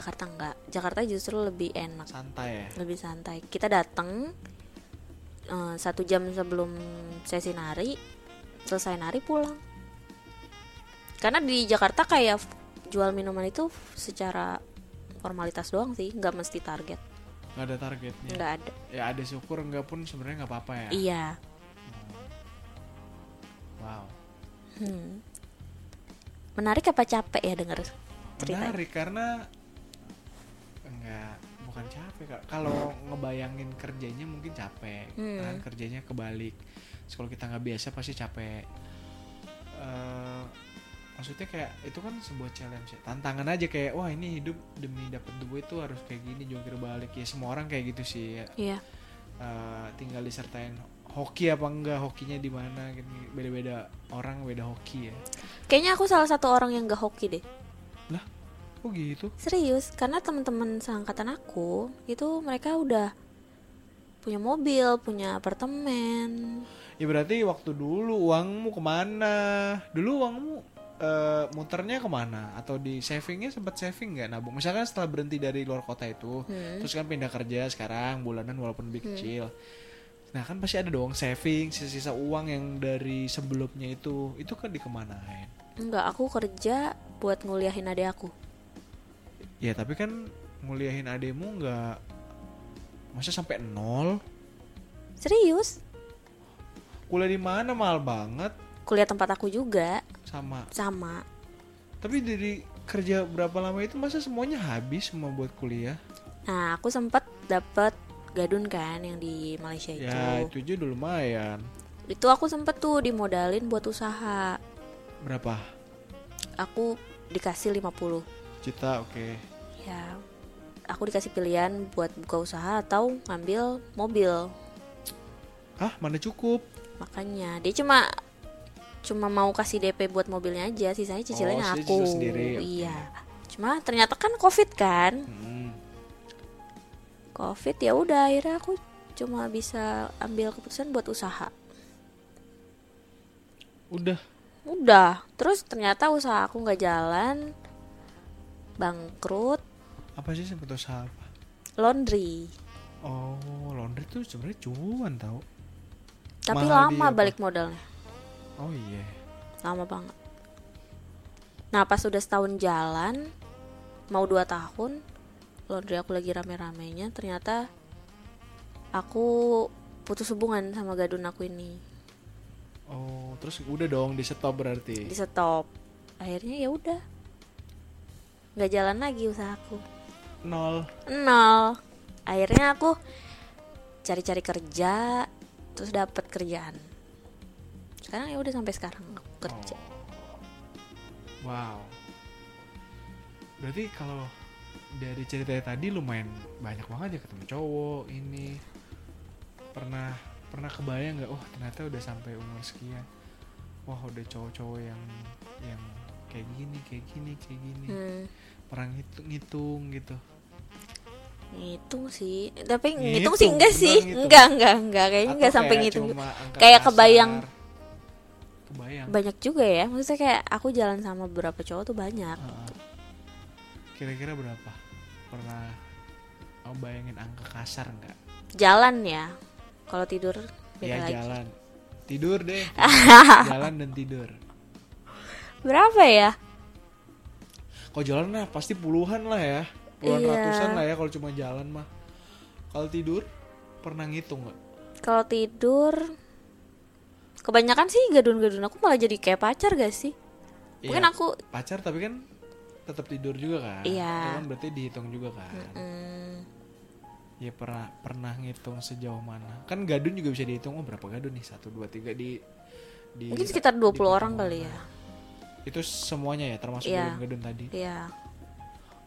[SPEAKER 5] Jakarta enggak. Jakarta justru lebih enak,
[SPEAKER 4] Santai ya.
[SPEAKER 5] lebih santai. Kita datang eh, satu jam sebelum sesi nari, selesai nari pulang. Karena di Jakarta kayak f- jual minuman itu secara formalitas doang sih, nggak mesti target,
[SPEAKER 4] Nggak ada targetnya.
[SPEAKER 5] nggak ada.
[SPEAKER 4] Ya ada syukur nggak pun sebenarnya nggak apa-apa ya.
[SPEAKER 5] Iya.
[SPEAKER 4] Wow.
[SPEAKER 5] Hmm. Menarik apa capek ya denger cerita?
[SPEAKER 4] menarik karena enggak bukan capek Kak. kalau ngebayangin kerjanya mungkin capek
[SPEAKER 5] Hmm.
[SPEAKER 4] kan kerjanya kebalik Terus kalau kita nggak biasa pasti capek Eh, maksudnya kayak itu kan sebuah challenge ya. tantangan aja kayak wah ini hidup demi dapat duit tuh harus kayak gini jungkir balik ya semua orang kayak gitu sih ya.
[SPEAKER 5] Iya.
[SPEAKER 4] Eh, tinggal disertain hoki apa enggak hokinya di mana gitu. beda-beda orang beda hoki ya
[SPEAKER 5] Kayaknya aku salah satu orang yang gak hoki deh.
[SPEAKER 4] oh gitu
[SPEAKER 5] Serius, karena teman-teman seangkatan aku itu mereka udah punya mobil, punya apartemen.
[SPEAKER 4] Ya berarti waktu dulu uangmu kemana? Dulu uangmu eh, muternya kemana? Atau di savingnya sempat saving nggak nabung? Misalkan setelah berhenti dari luar kota itu,
[SPEAKER 5] Hmm.
[SPEAKER 4] terus kan pindah kerja sekarang bulanan walaupun lebih kecil. Nah kan pasti ada dong saving, sisa-sisa uang yang dari sebelumnya itu, itu kan dikemanain?
[SPEAKER 5] Enggak, aku kerja buat nguliahin adik aku.
[SPEAKER 4] Ya tapi kan nguliahin ademu nggak, masa sampai nol?
[SPEAKER 5] Serius,
[SPEAKER 4] Kuliah di mana mahal banget
[SPEAKER 5] kuliah tempat aku juga
[SPEAKER 4] sama.
[SPEAKER 5] sama.
[SPEAKER 4] Tapi dari kerja berapa lama itu masa semuanya habis semua buat kuliah?
[SPEAKER 5] Nah, aku sempet dapet gadun kan yang di Malaysia itu.
[SPEAKER 4] Ya itu aja udah lumayan
[SPEAKER 5] Itu aku sempet tuh dimodalin buat usaha.
[SPEAKER 4] Berapa?
[SPEAKER 5] Aku dikasih 50
[SPEAKER 4] Juta oke
[SPEAKER 5] ya aku dikasih pilihan buat buka usaha atau ngambil mobil
[SPEAKER 4] Ah mana cukup
[SPEAKER 5] makanya dia cuma cuma mau kasih DP buat mobilnya aja sisanya cicilannya
[SPEAKER 4] Oh, sisanya
[SPEAKER 5] aku
[SPEAKER 4] cicil sendiri, oke.
[SPEAKER 5] iya cuma ternyata kan covid kan
[SPEAKER 4] Hmm.
[SPEAKER 5] covid ya udah akhirnya aku cuma bisa ambil keputusan buat usaha
[SPEAKER 4] Udah
[SPEAKER 5] udah terus ternyata usaha aku nggak jalan bangkrut
[SPEAKER 4] Apa sih sempet usaha apa?
[SPEAKER 5] laundry
[SPEAKER 4] Oh laundry tuh sebenarnya cuan tau Mahal
[SPEAKER 5] tapi
[SPEAKER 4] di
[SPEAKER 5] lama
[SPEAKER 4] apa?
[SPEAKER 5] balik modalnya
[SPEAKER 4] Oh iya
[SPEAKER 5] lama banget. Nah pas udah setahun jalan, mau dua tahun, laundry aku lagi rame-ramenya, ternyata aku putus hubungan sama gadun aku ini,
[SPEAKER 4] Oh terus udah dong di stop berarti
[SPEAKER 5] di stop. akhirnya ya udah nggak jalan lagi usahaku
[SPEAKER 4] nol
[SPEAKER 5] nol akhirnya aku cari-cari kerja terus dapat kerjaan sekarang ya udah sampai sekarang aku kerja
[SPEAKER 4] wow berarti kalau dari ceritanya tadi lumayan banyak banget ya ketemu cowok ini pernah pernah kebayang nggak wah ternyata udah sampai umur sekian wah udah cowok-cowok yang yang kayak gini kayak gini kayak gini
[SPEAKER 5] hmm,
[SPEAKER 4] pernah ngitung-ngitung gitu
[SPEAKER 5] ngitung sih tapi ngitung,
[SPEAKER 4] Ngitung,
[SPEAKER 5] sih enggak
[SPEAKER 4] enggak
[SPEAKER 5] sih
[SPEAKER 4] ngitung.
[SPEAKER 5] enggak enggak enggak kayaknya
[SPEAKER 4] Atau
[SPEAKER 5] enggak sampai
[SPEAKER 4] kayak
[SPEAKER 5] ngitung
[SPEAKER 4] cuma angka
[SPEAKER 5] Kayak
[SPEAKER 4] kasar.
[SPEAKER 5] kebayang.
[SPEAKER 4] kebayang
[SPEAKER 5] banyak juga ya maksudnya kayak aku jalan sama beberapa cowok tuh banyak
[SPEAKER 4] Heeh. kira-kira berapa pernah kamu bayangin angka kasar nggak
[SPEAKER 5] jalan ya kalau tidur beda
[SPEAKER 4] ya
[SPEAKER 5] lagi
[SPEAKER 4] jalan tidur deh tidur. jalan dan tidur
[SPEAKER 5] berapa ya
[SPEAKER 4] kalau jalan nah pasti puluhan lah ya puluhan
[SPEAKER 5] Iya.
[SPEAKER 4] ratusan lah ya kalau cuma jalan mah kalau tidur pernah ngitung nggak
[SPEAKER 5] kalau tidur kebanyakan sih gadun-gadun aku malah jadi kayak pacar gak sih mungkin
[SPEAKER 4] Iya,
[SPEAKER 5] aku
[SPEAKER 4] pacar tapi kan tetap tidur juga kan
[SPEAKER 5] Iya.
[SPEAKER 4] Itu kan berarti dihitung juga kan
[SPEAKER 5] mm,
[SPEAKER 4] ya pernah pernah ngitung sejauh mana kan gadun juga bisa dihitung oh berapa gadun nih satu dua tiga di di
[SPEAKER 5] mungkin sekitar 20 orang kali ya
[SPEAKER 4] itu semuanya ya termasuk
[SPEAKER 5] Iya.
[SPEAKER 4] gadun-gadun tadi
[SPEAKER 5] iya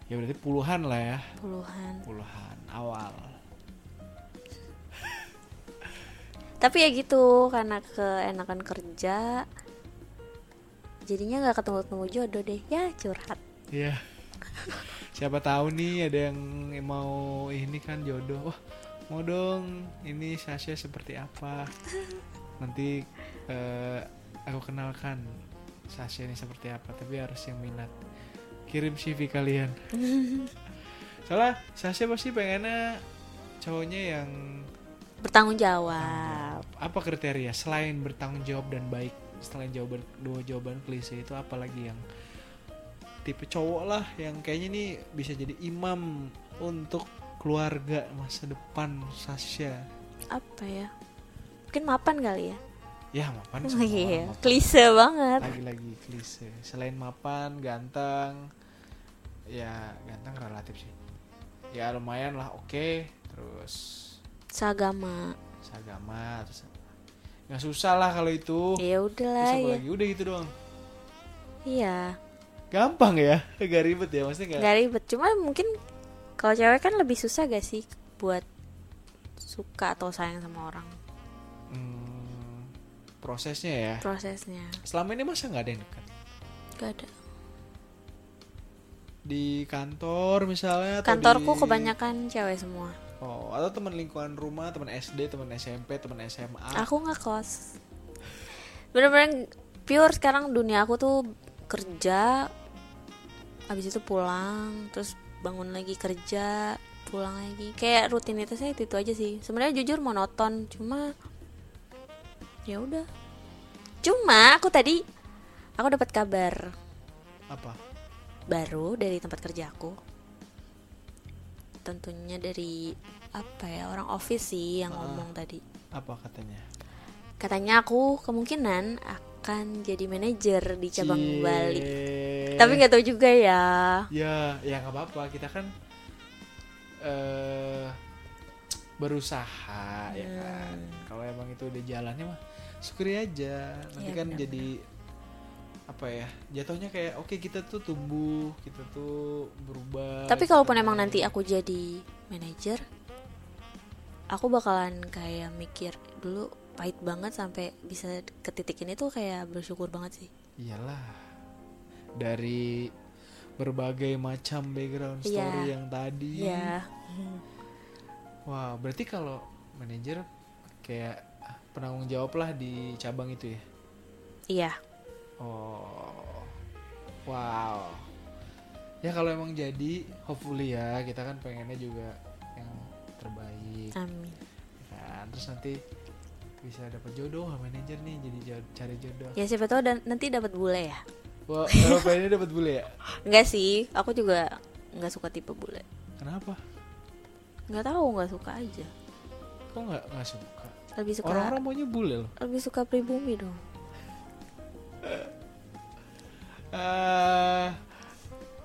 [SPEAKER 4] ya berarti puluhan lah ya
[SPEAKER 5] puluhan
[SPEAKER 4] puluhan awal
[SPEAKER 5] tapi ya gitu karena keenakan kerja jadinya nggak ketemu ketemu jodoh deh ya curhat
[SPEAKER 4] Iya. Siapa tahu nih ada yang mau ini kan jodoh. Wah, mau dong. Ini Sasha seperti apa? Nanti eh, aku kenalkan Sasha ini seperti apa, tapi harus yang minat. Kirim CV kalian. Soalnya Sasha pasti pengennya cowoknya yang
[SPEAKER 5] bertanggung jawab
[SPEAKER 4] apa kriteria selain bertanggung jawab dan baik selain jawaban dua jawaban klise itu apalagi yang tipe cowok lah yang kayaknya ini bisa jadi imam untuk keluarga masa depan Sasha
[SPEAKER 5] apa ya mungkin mapan kali ya
[SPEAKER 4] ya mapan semua orang
[SPEAKER 5] iya
[SPEAKER 4] mapan.
[SPEAKER 5] klise banget
[SPEAKER 4] lagi-lagi klise selain mapan ganteng ya ganteng relatif sih ya lumayan lah oke terus
[SPEAKER 5] seagama
[SPEAKER 4] seagama terus apa. nggak susah lah kalau itu
[SPEAKER 5] ya udahlah
[SPEAKER 4] Terus apa
[SPEAKER 5] ya
[SPEAKER 4] lagi? Udah gitu doang.
[SPEAKER 5] iya
[SPEAKER 4] Gampang ya, gak ribet ya maksudnya gak.
[SPEAKER 5] nggak ribet cuma mungkin kalau cewek kan lebih susah gak sih buat suka atau sayang sama orang
[SPEAKER 4] Hmm, prosesnya ya.
[SPEAKER 5] prosesnya
[SPEAKER 4] Selama ini masa nggak ada yang dekat
[SPEAKER 5] gak ada
[SPEAKER 4] di kantor misalnya. atau
[SPEAKER 5] kantorku
[SPEAKER 4] di-
[SPEAKER 5] kebanyakan cewek semua
[SPEAKER 4] Oh, atau teman lingkungan rumah, teman SD, teman SMP, teman SMA.
[SPEAKER 5] aku nggak kos bener-bener pure sekarang dunia aku tuh kerja habis itu pulang terus bangun lagi kerja pulang lagi kayak rutinitasnya itu itu aja sih sebenarnya jujur monoton cuma ya udah cuma aku tadi aku dapat kabar
[SPEAKER 4] Apa?
[SPEAKER 5] baru dari tempat kerja aku tentunya dari apa ya orang office sih yang ngomong tadi
[SPEAKER 4] Apa katanya?
[SPEAKER 5] Katanya aku kemungkinan akan jadi manajer di cabang
[SPEAKER 4] Cie.
[SPEAKER 5] Bali. Tapi nggak tahu juga ya.
[SPEAKER 4] Ya, ya nggak apa-apa. Kita kan eh berusaha ya
[SPEAKER 5] Iya.
[SPEAKER 4] kan. Kalau emang itu udah jalannya mah syukuri aja. Nanti
[SPEAKER 5] Iya,
[SPEAKER 4] kan
[SPEAKER 5] benar-benar.
[SPEAKER 4] jadi apa ya? Jatuhnya kayak oke kita tuh tumbuh, kita tuh berubah. gitu kan.
[SPEAKER 5] Tapi
[SPEAKER 4] kita
[SPEAKER 5] kalaupun emang
[SPEAKER 4] naik.
[SPEAKER 5] nanti aku jadi manajer, aku bakalan kayak mikir dulu pahit banget sampai bisa ke titik ini tuh kayak bersyukur banget sih.
[SPEAKER 4] iyalah dari berbagai macam background
[SPEAKER 5] Iya.
[SPEAKER 4] story yang tadi.
[SPEAKER 5] Ya,
[SPEAKER 4] Wah, berarti kalau manajer kayak penanggung jawab lah di cabang itu ya.
[SPEAKER 5] iya.
[SPEAKER 4] Oh, wow. Ya kalau emang jadi, hopefully ya kita kan pengennya juga yang terbaik.
[SPEAKER 5] Amin.
[SPEAKER 4] ya Kan? Terus nanti bisa dapat jodoh sama manajer nih jadi jo- cari jodoh.
[SPEAKER 5] Ya siapa tahu dan nanti dapat bule ya.
[SPEAKER 4] Wah, kalau pengennya dapat bule ya?
[SPEAKER 5] Enggak sih, aku juga nggak suka tipe bule.
[SPEAKER 4] Kenapa?
[SPEAKER 5] Nggak tahu, nggak suka aja.
[SPEAKER 4] Kok nggak nggak suka?
[SPEAKER 5] Lebih suka
[SPEAKER 4] Orang-orang maunya bule loh.
[SPEAKER 5] lebih suka pribumi dong.
[SPEAKER 4] eh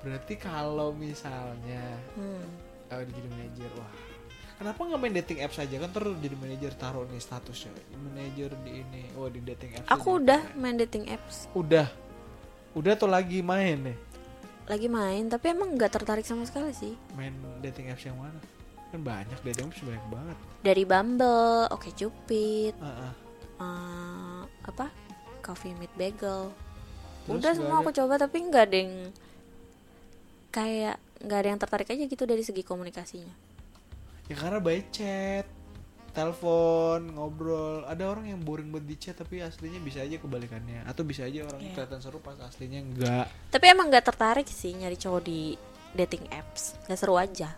[SPEAKER 4] berarti kalau misalnya
[SPEAKER 5] Hmm.
[SPEAKER 4] eh, udah jadi manajer, wah kenapa nggak main dating apps aja kan terus jadi manajer taruh nih statusnya manajer di ini oh di dating apps
[SPEAKER 5] Aku
[SPEAKER 4] ini.
[SPEAKER 5] udah main dating apps,
[SPEAKER 4] udah udah tuh lagi main nih
[SPEAKER 5] lagi main, tapi emang nggak tertarik sama sekali sih.
[SPEAKER 4] main dating apps yang mana kan banyak dating apps banyak banget
[SPEAKER 5] Dari Bumble, Oke Cupid,
[SPEAKER 4] Heeh.
[SPEAKER 5] eh, apa? Coffee Meet Bagel.
[SPEAKER 4] Terus
[SPEAKER 5] udah
[SPEAKER 4] nggak
[SPEAKER 5] semua
[SPEAKER 4] ada-
[SPEAKER 5] aku coba tapi nggak ada yang kayak nggak ada yang tertarik aja gitu dari segi komunikasinya.
[SPEAKER 4] ya karena by chat telepon ngobrol ada orang yang boring buat di chat tapi aslinya bisa aja kebalikannya atau bisa aja orang
[SPEAKER 5] Iya.
[SPEAKER 4] kelihatan seru pas aslinya enggak
[SPEAKER 5] Tapi emang nggak tertarik sih nyari cowok di dating apps, nggak seru aja.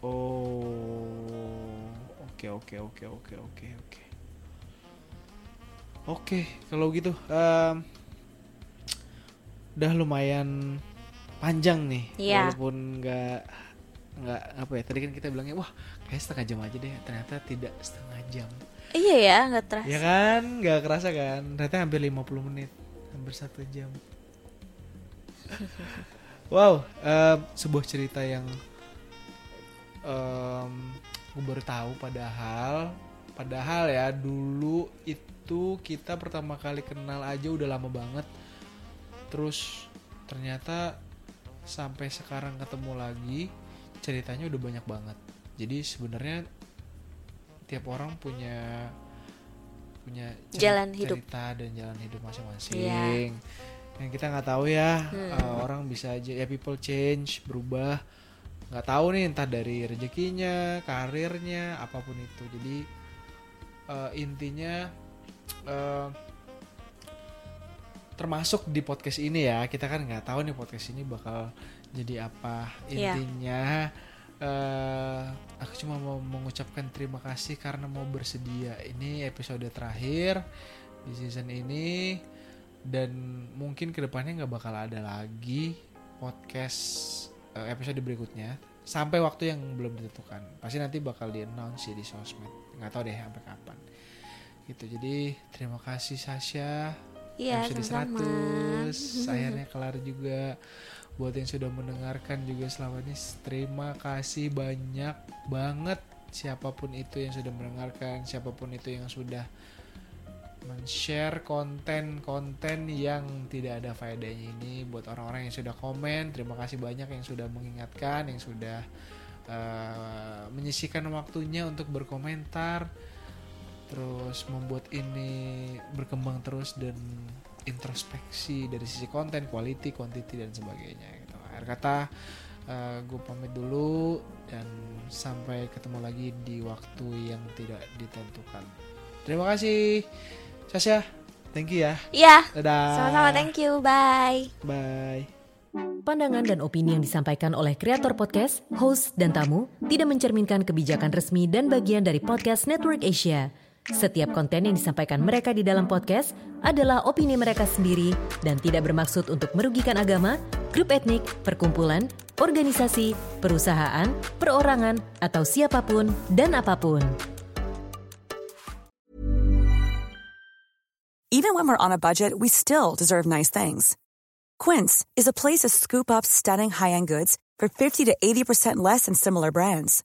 [SPEAKER 4] oh oke oke oke oke oke oke oke kalau gitu em, udah lumayan panjang nih
[SPEAKER 5] Iya.
[SPEAKER 4] walaupun nggak nggak apa ya tadi kan kita bilangnya wah kayak setengah jam aja deh ternyata tidak setengah jam
[SPEAKER 5] Iya ya, nggak terasa.
[SPEAKER 4] Ya kan, nggak kerasa kan? Ternyata hampir 50 menit, hampir satu jam. wow, em, sebuah cerita yang em gue baru tahu padahal, padahal ya dulu itu kita pertama kali kenal aja udah lama banget. Terus ternyata sampai sekarang ketemu lagi ceritanya udah banyak banget. Jadi sebenarnya tiap orang punya punya cer-
[SPEAKER 5] Jalan hidup.
[SPEAKER 4] cerita dan jalan hidup masing-masing
[SPEAKER 5] Iya.
[SPEAKER 4] yang kita nggak tahu ya
[SPEAKER 5] Hmm.
[SPEAKER 4] eh, orang bisa aja ya people change berubah nggak tahu nih entah dari rezekinya karirnya apapun itu jadi eh, intinya eh, termasuk di podcast ini ya kita kan nggak tahu nih podcast ini bakal jadi apa
[SPEAKER 5] Iya.
[SPEAKER 4] intinya eh, aku cuma mau mengucapkan terima kasih karena mau bersedia ini episode terakhir di season ini dan mungkin kedepannya nggak bakal ada lagi podcast eh, episode berikutnya sampai waktu yang belum ditentukan pasti nanti bakal di announce di sosmed nggak tahu deh sampai kapan gitu jadi terima kasih Sasha
[SPEAKER 5] Iya,
[SPEAKER 4] episode
[SPEAKER 5] sama-sama.
[SPEAKER 4] 100 akhirnya kelar juga buat yang sudah mendengarkan juga selama ini terima kasih banyak banget siapapun itu yang sudah mendengarkan siapapun itu yang sudah men-share konten-konten yang tidak ada faedahnya ini buat orang-orang yang sudah komen terima kasih banyak yang sudah mengingatkan yang sudah eh, menyisihkan waktunya untuk berkomentar terus membuat ini berkembang terus dan introspeksi dari sisi konten, quality, quantity dan sebagainya gitu. Akhir kata gue pamit dulu dan sampai ketemu lagi di waktu yang tidak ditentukan. Terima kasih Sasha, thank you ya.
[SPEAKER 5] Iya,
[SPEAKER 4] Dadah.
[SPEAKER 5] sama-sama. Thank you, bye.
[SPEAKER 4] Bye.
[SPEAKER 7] Pandangan dan opini yang disampaikan oleh kreator podcast, host, dan tamu tidak mencerminkan kebijakan resmi dan bagian dari podcast Network Asia. Setiap konten yang disampaikan mereka di dalam podcast adalah opini mereka sendiri dan tidak bermaksud untuk merugikan agama, grup etnik, perkumpulan, organisasi, perusahaan, perorangan, atau siapapun dan apapun.
[SPEAKER 8] Even when we're on a budget, we still deserve nice things. Quince is a place to scoop up stunning high-end goods for 50 to 80% less than similar brands.